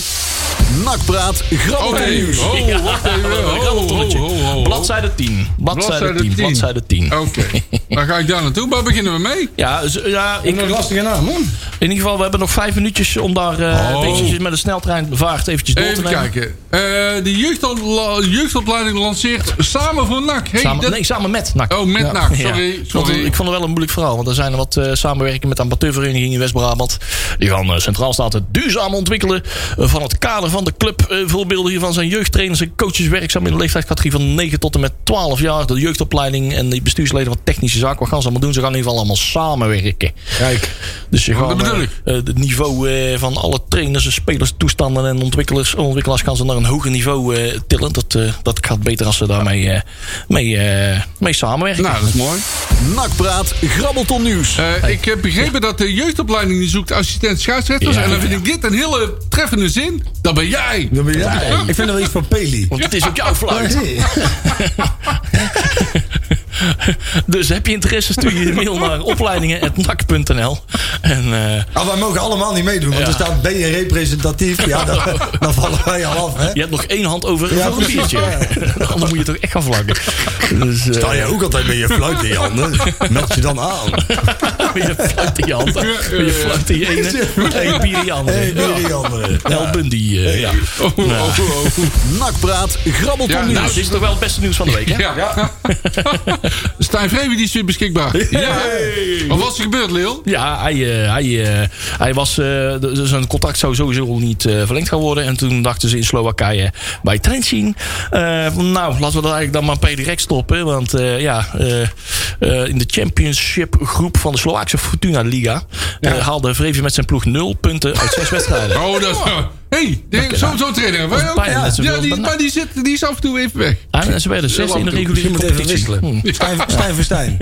Nakpraat,
Oh,
grabbel
nee. Oh, wacht even.
Een
Oh, oh,
grabbeltolletje.
oh, oh.
Bladzijde 10. Bladzijde
Bladzijde Oh.
10.
10.
Bladzijde 10.
Oké, dan ga ik daar naartoe. Waar beginnen we mee?
Ja, z- ja ik,
Een lastige naam, hoor.
in ieder geval, we hebben nog vijf minuutjes om daar eh
Oh.
eventjes met een sneltreinvaart eventjes door te
Even
nemen.
kijken. Eh, de jeugdopla- jeugdopleiding lanceert samen voor NAC. Hey,
Samen,
dat-
nee, samen met NAC.
Oh, met
Ja.
NAC.
Ja.
Sorry,
Ik vond het-
sorry.
Ik vond het wel een moeilijk verhaal. Want er zijn er wat eh, samenwerkingen met amateurverenigingen in West-Brabant. Die gaan eh, Centraal Staten duurzaam ontwikkelen. eh, van het kader van de club. Eh, voorbeelden hiervan zijn jeugdtrainers en coaches werkzaam in de leeftijdscategorie van 9 tot en met 12 jaar. De jeugdopleiding en de bestuursleden van technische zaken. Wat gaan ze allemaal doen? Ze gaan in ieder geval allemaal samenwerken.
Kijk.
Dus je gaat
bedoel ik.
eh, het niveau eh, van alle trainers en spelers, toestanden en ontwikkelers, ontwikkelaars gaan ze naar een hoger niveau eh, tillen. Dat, eh, dat gaat beter als ze daarmee eh, mee, eh, mee samenwerken.
Nou, dat is mooi.
Nakpraat, grabbelton nieuws.
Eh, Ik heb begrepen dat de jeugdopleiding die zoekt assistent scheidsrechters.
Ja,
en dan vind
ja.
ik dit een hele treffende zin. Dat ben jij.
Dan ben jij. Ik vind dat wel iets van Peli.
Want het is ook jouw fluit. Dus heb je interesse, stuur je een mail naar opleidingen.nak.nl. En eh,
Ah, wij mogen allemaal niet meedoen, want
Ja.
er staat ben je representatief. Ja, dan, dan vallen wij al af, hè?
je hebt nog één hand over
Ja,
voor een
precies.
biertje. Anders moet je toch echt gaan vlakken. Dus, eh,
Sta je ook altijd met je fluit in je handen? Meld je dan aan.
met je fluit in je hand. Met je fluit in je ene. En je bier in je andere.
hey,
Ja.
weer die andere.
El Bundy, eh, ja.
Oh, oh, oh, oh.
Nakpraat, grabbelton
Ja,
nieuws.
Nou, dit is toch wel het beste nieuws van de week, hè?
Ja. Stijn Vreven die is weer beschikbaar. Ja. Wat was er gebeurd, Leel?
Ja, hij, eh, hij, eh, hij was, eh, de- de- zijn contract zou sowieso niet eh, verlengd gaan worden. En toen dachten ze in Slowakije bij Trentin. eh, nou, laten we dat eigenlijk dan maar per direct stoppen. Want eh, ja, eh, eh, in de championship groep van de Slovaakse Fortuna Liga... eh, haalde Vreven met zijn ploeg 0 punten uit zes wedstrijden.
Oh, dat is... Hé, hey, zo'n zo trainer. Wij ook.
bijna net zoveel
Ja,
als
die,
bijna.
maar die, zit, die is af en toe even weg.
Ah, En ze werden zes in de
Je
reguliere
moet Hmm. even
competitie.
wisselen.
Hm,
Stijn, Stijn voor Stijn.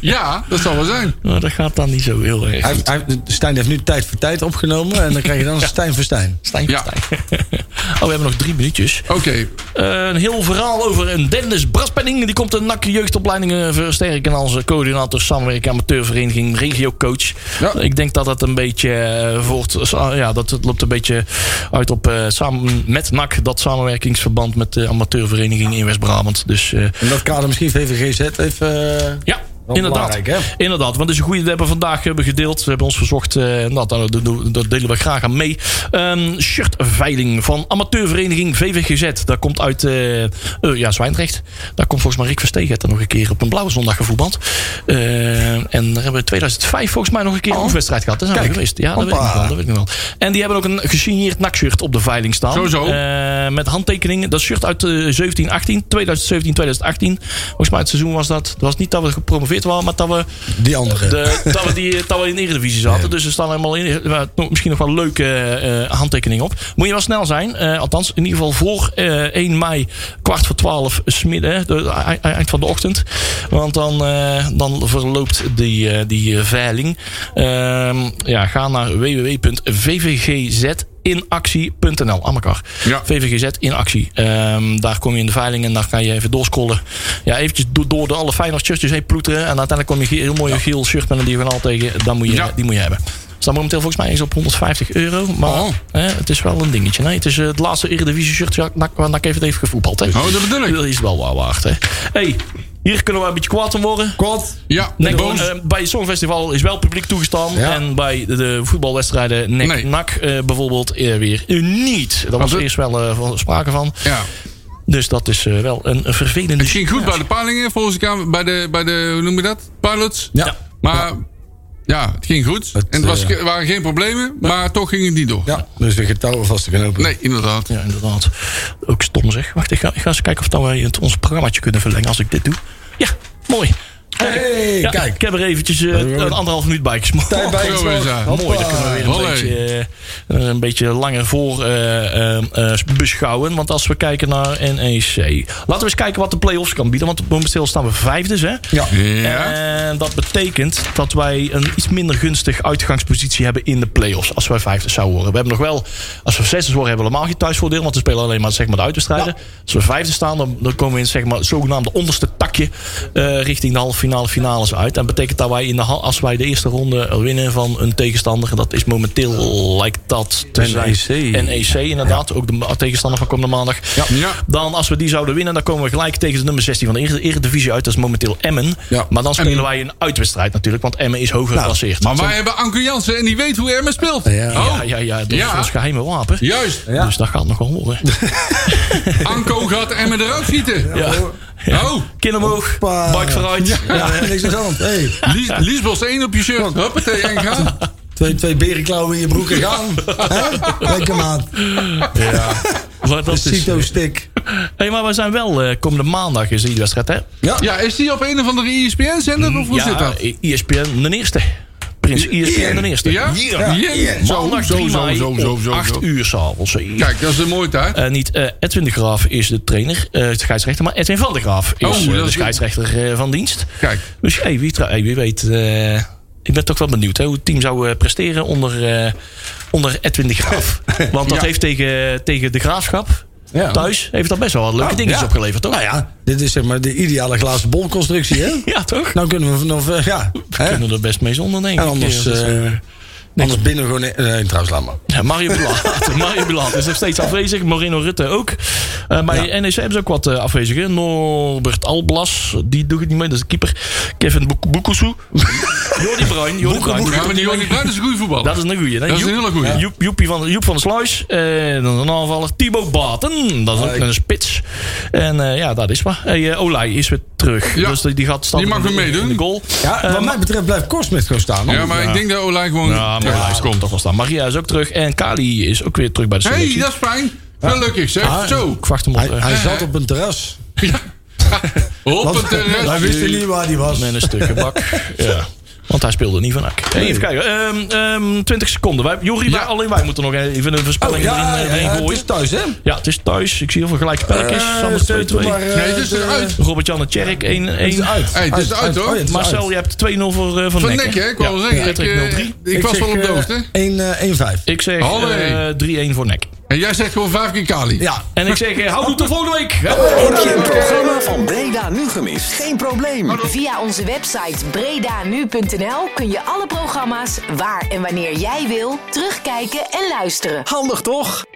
Ja, dat zal wel zijn.
nou, dat gaat dan niet zo heel erg.
Hij, heeft- hij, heeft- Stijn heeft nu tijd voor tijd opgenomen. En dan krijg je dan Stijn voor Stijn.
Stijn,
Ja.
Stijn. Oh, we hebben nog drie minuutjes.
Oké.
Eh, een heel verhaal over een Dennis Braspenning. Die komt de NAC jeugdopleidingen versterken als coördinator samenwerking amateurvereniging regiocoach.
Ja.
Ik denk dat dat een beetje eh, voort, sa- ja, dat het loopt een beetje uit op eh, samen met NAC dat samenwerkingsverband met de amateurvereniging in West-Brabant. Dus eh,
In dat kader misschien VVGZ even... eh,
ja.
Wel
Inderdaad.
belangrijk, hè?
Inderdaad, want het is een goede. We hebben vandaag eh, hebben we gedeeld. We hebben ons verzocht. eh, nou, daar, daar- daar- daar delen we graag aan mee. Ehm shirtveiling van amateurvereniging VVGZ. Daar komt uit eh, eh, ja, Zwijndrecht. Daar komt volgens mij Rick Versteeg heeft daar nog een keer op een blauwe zondag gevoetbald. Eh, en daar hebben we in 2005 volgens mij nog een keer een oefenwedstrijd gehad. Daar zijn we geweest. Ja, dat weet, ik nog wel, dat weet ik nog wel. En die hebben ook een gesigneerd nakshirt op de veiling staan.
Zo, zo.
Eh, met handtekeningen. Dat shirt uit eh, 17, 18, 2017, 2018. Volgens mij het seizoen was dat. Het was niet dat we gepromoveerd waren, maar dat we,
Die andere.
de, dat we, die, dat we in de Eredivisie zaten. Dus er staan helemaal in, eh, nog- misschien nog wel leuke eh, handtekeningen op. Moet je wel snel zijn. eh, althans, in ieder geval voor eh, 1 mei, kwart voor 12, smidden, de, eind- eind van de ochtend. Want dan, eh, dan verloopt die, eh, die eh, veiling. Ehm, ja, ga naar www.vvgzinactie.nl Amakar.
Ja.
VVGZ in actie. Ehm, daar kom je in de veiling en dan kan je even doorscrollen. Ja, eventjes do- door de alle Feyenoord shirtjes heen ploeteren. En uiteindelijk kom je een ge- heel mooie geel shirt met een diagonaal tegen. Dan moet je,
Ja.
Die moet je hebben. Staat momenteel volgens mij eens op 150 euro. Maar
Oh.
hè, het is wel een dingetje. Nee, het is eh, het laatste Eredivisie shirt waar NAC- waar NAC even heeft gevoetbald. Hè.
Oh, dat bedoel ik.
Dat is wel waar waard. Hè. hey, hier kunnen we een beetje kwaad om worden.
Kot.
Ja,
Nek-
Boons.
eh, bij het Songfestival is wel publiek toegestaan.
Ja.
En bij de, de voetbalwedstrijden nek
Nee.
NAC eh, bijvoorbeeld eh, weer niet. Daar was
dat-
eerst wel eh, van- sprake van.
ja.
Dus dat is eh, wel een, een vervelende...
Het ging goed bij de palingen, volgens de Kamer. Bij de, bij de hoe noem je dat? Pilots.
Ja.
Maar ja, het ging goed.
Het,
en er was,
eh,
ge- waren geen problemen, maar toch ging het niet door.
Ja, dus de getouwen vast te knopen.
Nee, inderdaad.
Ja, inderdaad. Ook stom zeg. Wacht, ik ga, ik ga eens kijken of dat wij het, ons programmaatje kunnen verlengen als ik dit doe. Ja, mooi.
Hey,
Ja,
kijk.
Ik heb er eventjes eh, een anderhalf minuut bij gesmoord.
Tijd bij
Zo
gesproken.
is dat.
Hoppa.
Mooi, dat kunnen we weer een
Hoi.
beetje, eh, een beetje langer voor eh, eh, eh, beschouwen. Want als we kijken naar NEC. Laten we eens kijken wat de play-offs kan bieden. Want momenteel staan we vijfdes. Hè?
Ja.
En dat betekent dat wij een iets minder gunstig uitgangspositie hebben in de play-offs. Als wij vijfde zouden worden. We hebben nog wel, als we zesde worden, hebben we helemaal geen thuisvoordeel. Want we spelen alleen maar, zeg maar de uitwedstrijden. Als we vijfde staan, dan, dan komen we in zeg maar, het zogenaamde onderste takje. eh, richting de halve finale finales uit. En betekent dat wij in de, hal- als wij de eerste ronde winnen van een tegenstander. en Dat is momenteel, lijkt dat te
E
zijn.
NEC.
NEC inderdaad. Ook de ma- tegenstander van komende maandag.
Ja.
Dan als we die zouden winnen, dan komen we gelijk tegen de nummer 16 van de Eredi- Eredivisie uit. Dat is momenteel Emmen.
Ja.
Maar dan spelen
Emmen. Nou,
wij een uitwedstrijd natuurlijk, want Emmen is hoger geplasseerd.
Maar wij hebben Anke Jansen en die weet hoe Emma speelt.
Ja.
Oh,
ja, ja, ja, dat
Ja.
is ons geheime wapen.
Juist.
Dus dat gaat nog wel horen.
Anko gaat Emma eruit schieten.
Ja.
Oh,
Kin omhoog,
Hoppa.
buik vooruit.
Ja, niks aan de hand. Hey,
Lies, Liesbos 1 op je shirt. Huppatee, en gaan.
twee, twee berenklauwen in je broek en gaan. Hè? Lekker maat.
Maar dat is,
Cito-stick.
hey, maar we zijn wel, eh, komende maandag is die wedstrijd, hè?
Ja, is die op een of andere E ESPN-zender of hoe zit dat?
E ESPN de eerste. Prins E ESPN de eerste.
Ja?
Ja.
Ja. Zo,
Maandag
zo,
3
zo,
mei
zo, zo,
om
zo,
8
zo.
uur s'avonds.
Kijk, dat is een mooie tijd.
Eh, niet eh, Edwin de Graaf is de trainer, eh, de scheidsrechter, maar Edwin van de Graaf is
Oh,
eh,
dat is
de
goed.
scheidsrechter eh, van dienst.
Kijk.
Dus hey, wie, tra- hey, wie weet, eh, ik ben toch wel benieuwd hè, hoe het team zou eh, presteren onder, eh, onder Edwin de Graaf. Want dat
Ja.
heeft tegen, tegen de graafschap
Ja.
thuis heeft dat best wel wat leuke dingetjes
ja.
opgeleverd, toch?
Nou ja, dit is zeg maar de ideale glazen bolconstructie, hè?
Ja, toch?
Nou kunnen we vanaf, eh, ja.
We
Hè?
kunnen er best mee zonder, denk ik.
En anders,
Ja, dat is,
eh, anders binnen gewoon... eh, Nee, trouwens, laat maar.
Ja, Mario Bilat. Mario Bilat is nog steeds afwezig. Moreno Rutte ook. Eh, bij NEC hebben ze ook wat eh, afwezigen. Norbert Alblas, die doet het niet mee, dat is de keeper. Kevin Boek- Boekoesoe. Jordi Bruin. Jordi Bruin.
Ja, maar die Johnny Bruin is een goede voetballer.
Dat is een goeie. hè?
Dat is een
Joep-
hele goeie.
Joep, Joepie van, Joep van der Sluis. En dan een aanvaller. Thibaut Baten. Dat is ook een spits. En eh, ja, dat is maar. Hey, eh, Olij is weer terug.
Ja.
Dus die, die gaat staan
Die mag
in de-
weer meedoen.
in de goal.
Ja,
Eh,
wat mij betreft blijft Korsmit gewoon staan. hoor.
ja, maar ik denk dat Olij gewoon
ja, maar hij
terug
komt toch wel staan. Maria is ook terug. En Kali is ook weer terug bij de
Hé,
selectie.
hey, dat is fijn. Gelukkig zeg.
Ah,
Zo.
Ik wacht hem op.
Hij,
eh,
hij zat op een terras.
Hop, het
Wij
terras.
eh, wisten niet waar hij was.
Met een stuk gebak. ja. Want hij speelde niet van AK. Even kijken. ehm, ehm, 20 seconden. Wij, Jori, wij- alleen wij moeten nog even een voorspelling erin, eh, erin
Oh, het
gooien.
is thuis, hè?
Ja, het is thuis. Ik zie heel veel gelijk spelletjes. Sander
Eh,
2-2.
doe maar, eh,
Nee, het is
de-
eruit.
Robert-Jan en Tjerk 1-1.
Het is uit.
Hey, het is uit, hoor.
Oh, ja, het is
Marcel,
uit.
je hebt 2-0 voor, eh van
Van
Nek.
Nek, hè? Ik wou wel zeggen. Ik,
Patrick
eh,
0-3.
ik was wel op de hoogte.
1-5.
Ik zeg
Hallo.
eh, 3-1 voor Nek.
En jij zegt gewoon vijf keer Kali.
Ja.
En ik zeg, eh, hou het tot volgende week.
Heb je een programma van Breda Nu gemist? Geen probleem.
Via onze website bredanu.nl kun je alle programma's waar en wanneer jij wil terugkijken en luisteren.
Handig toch?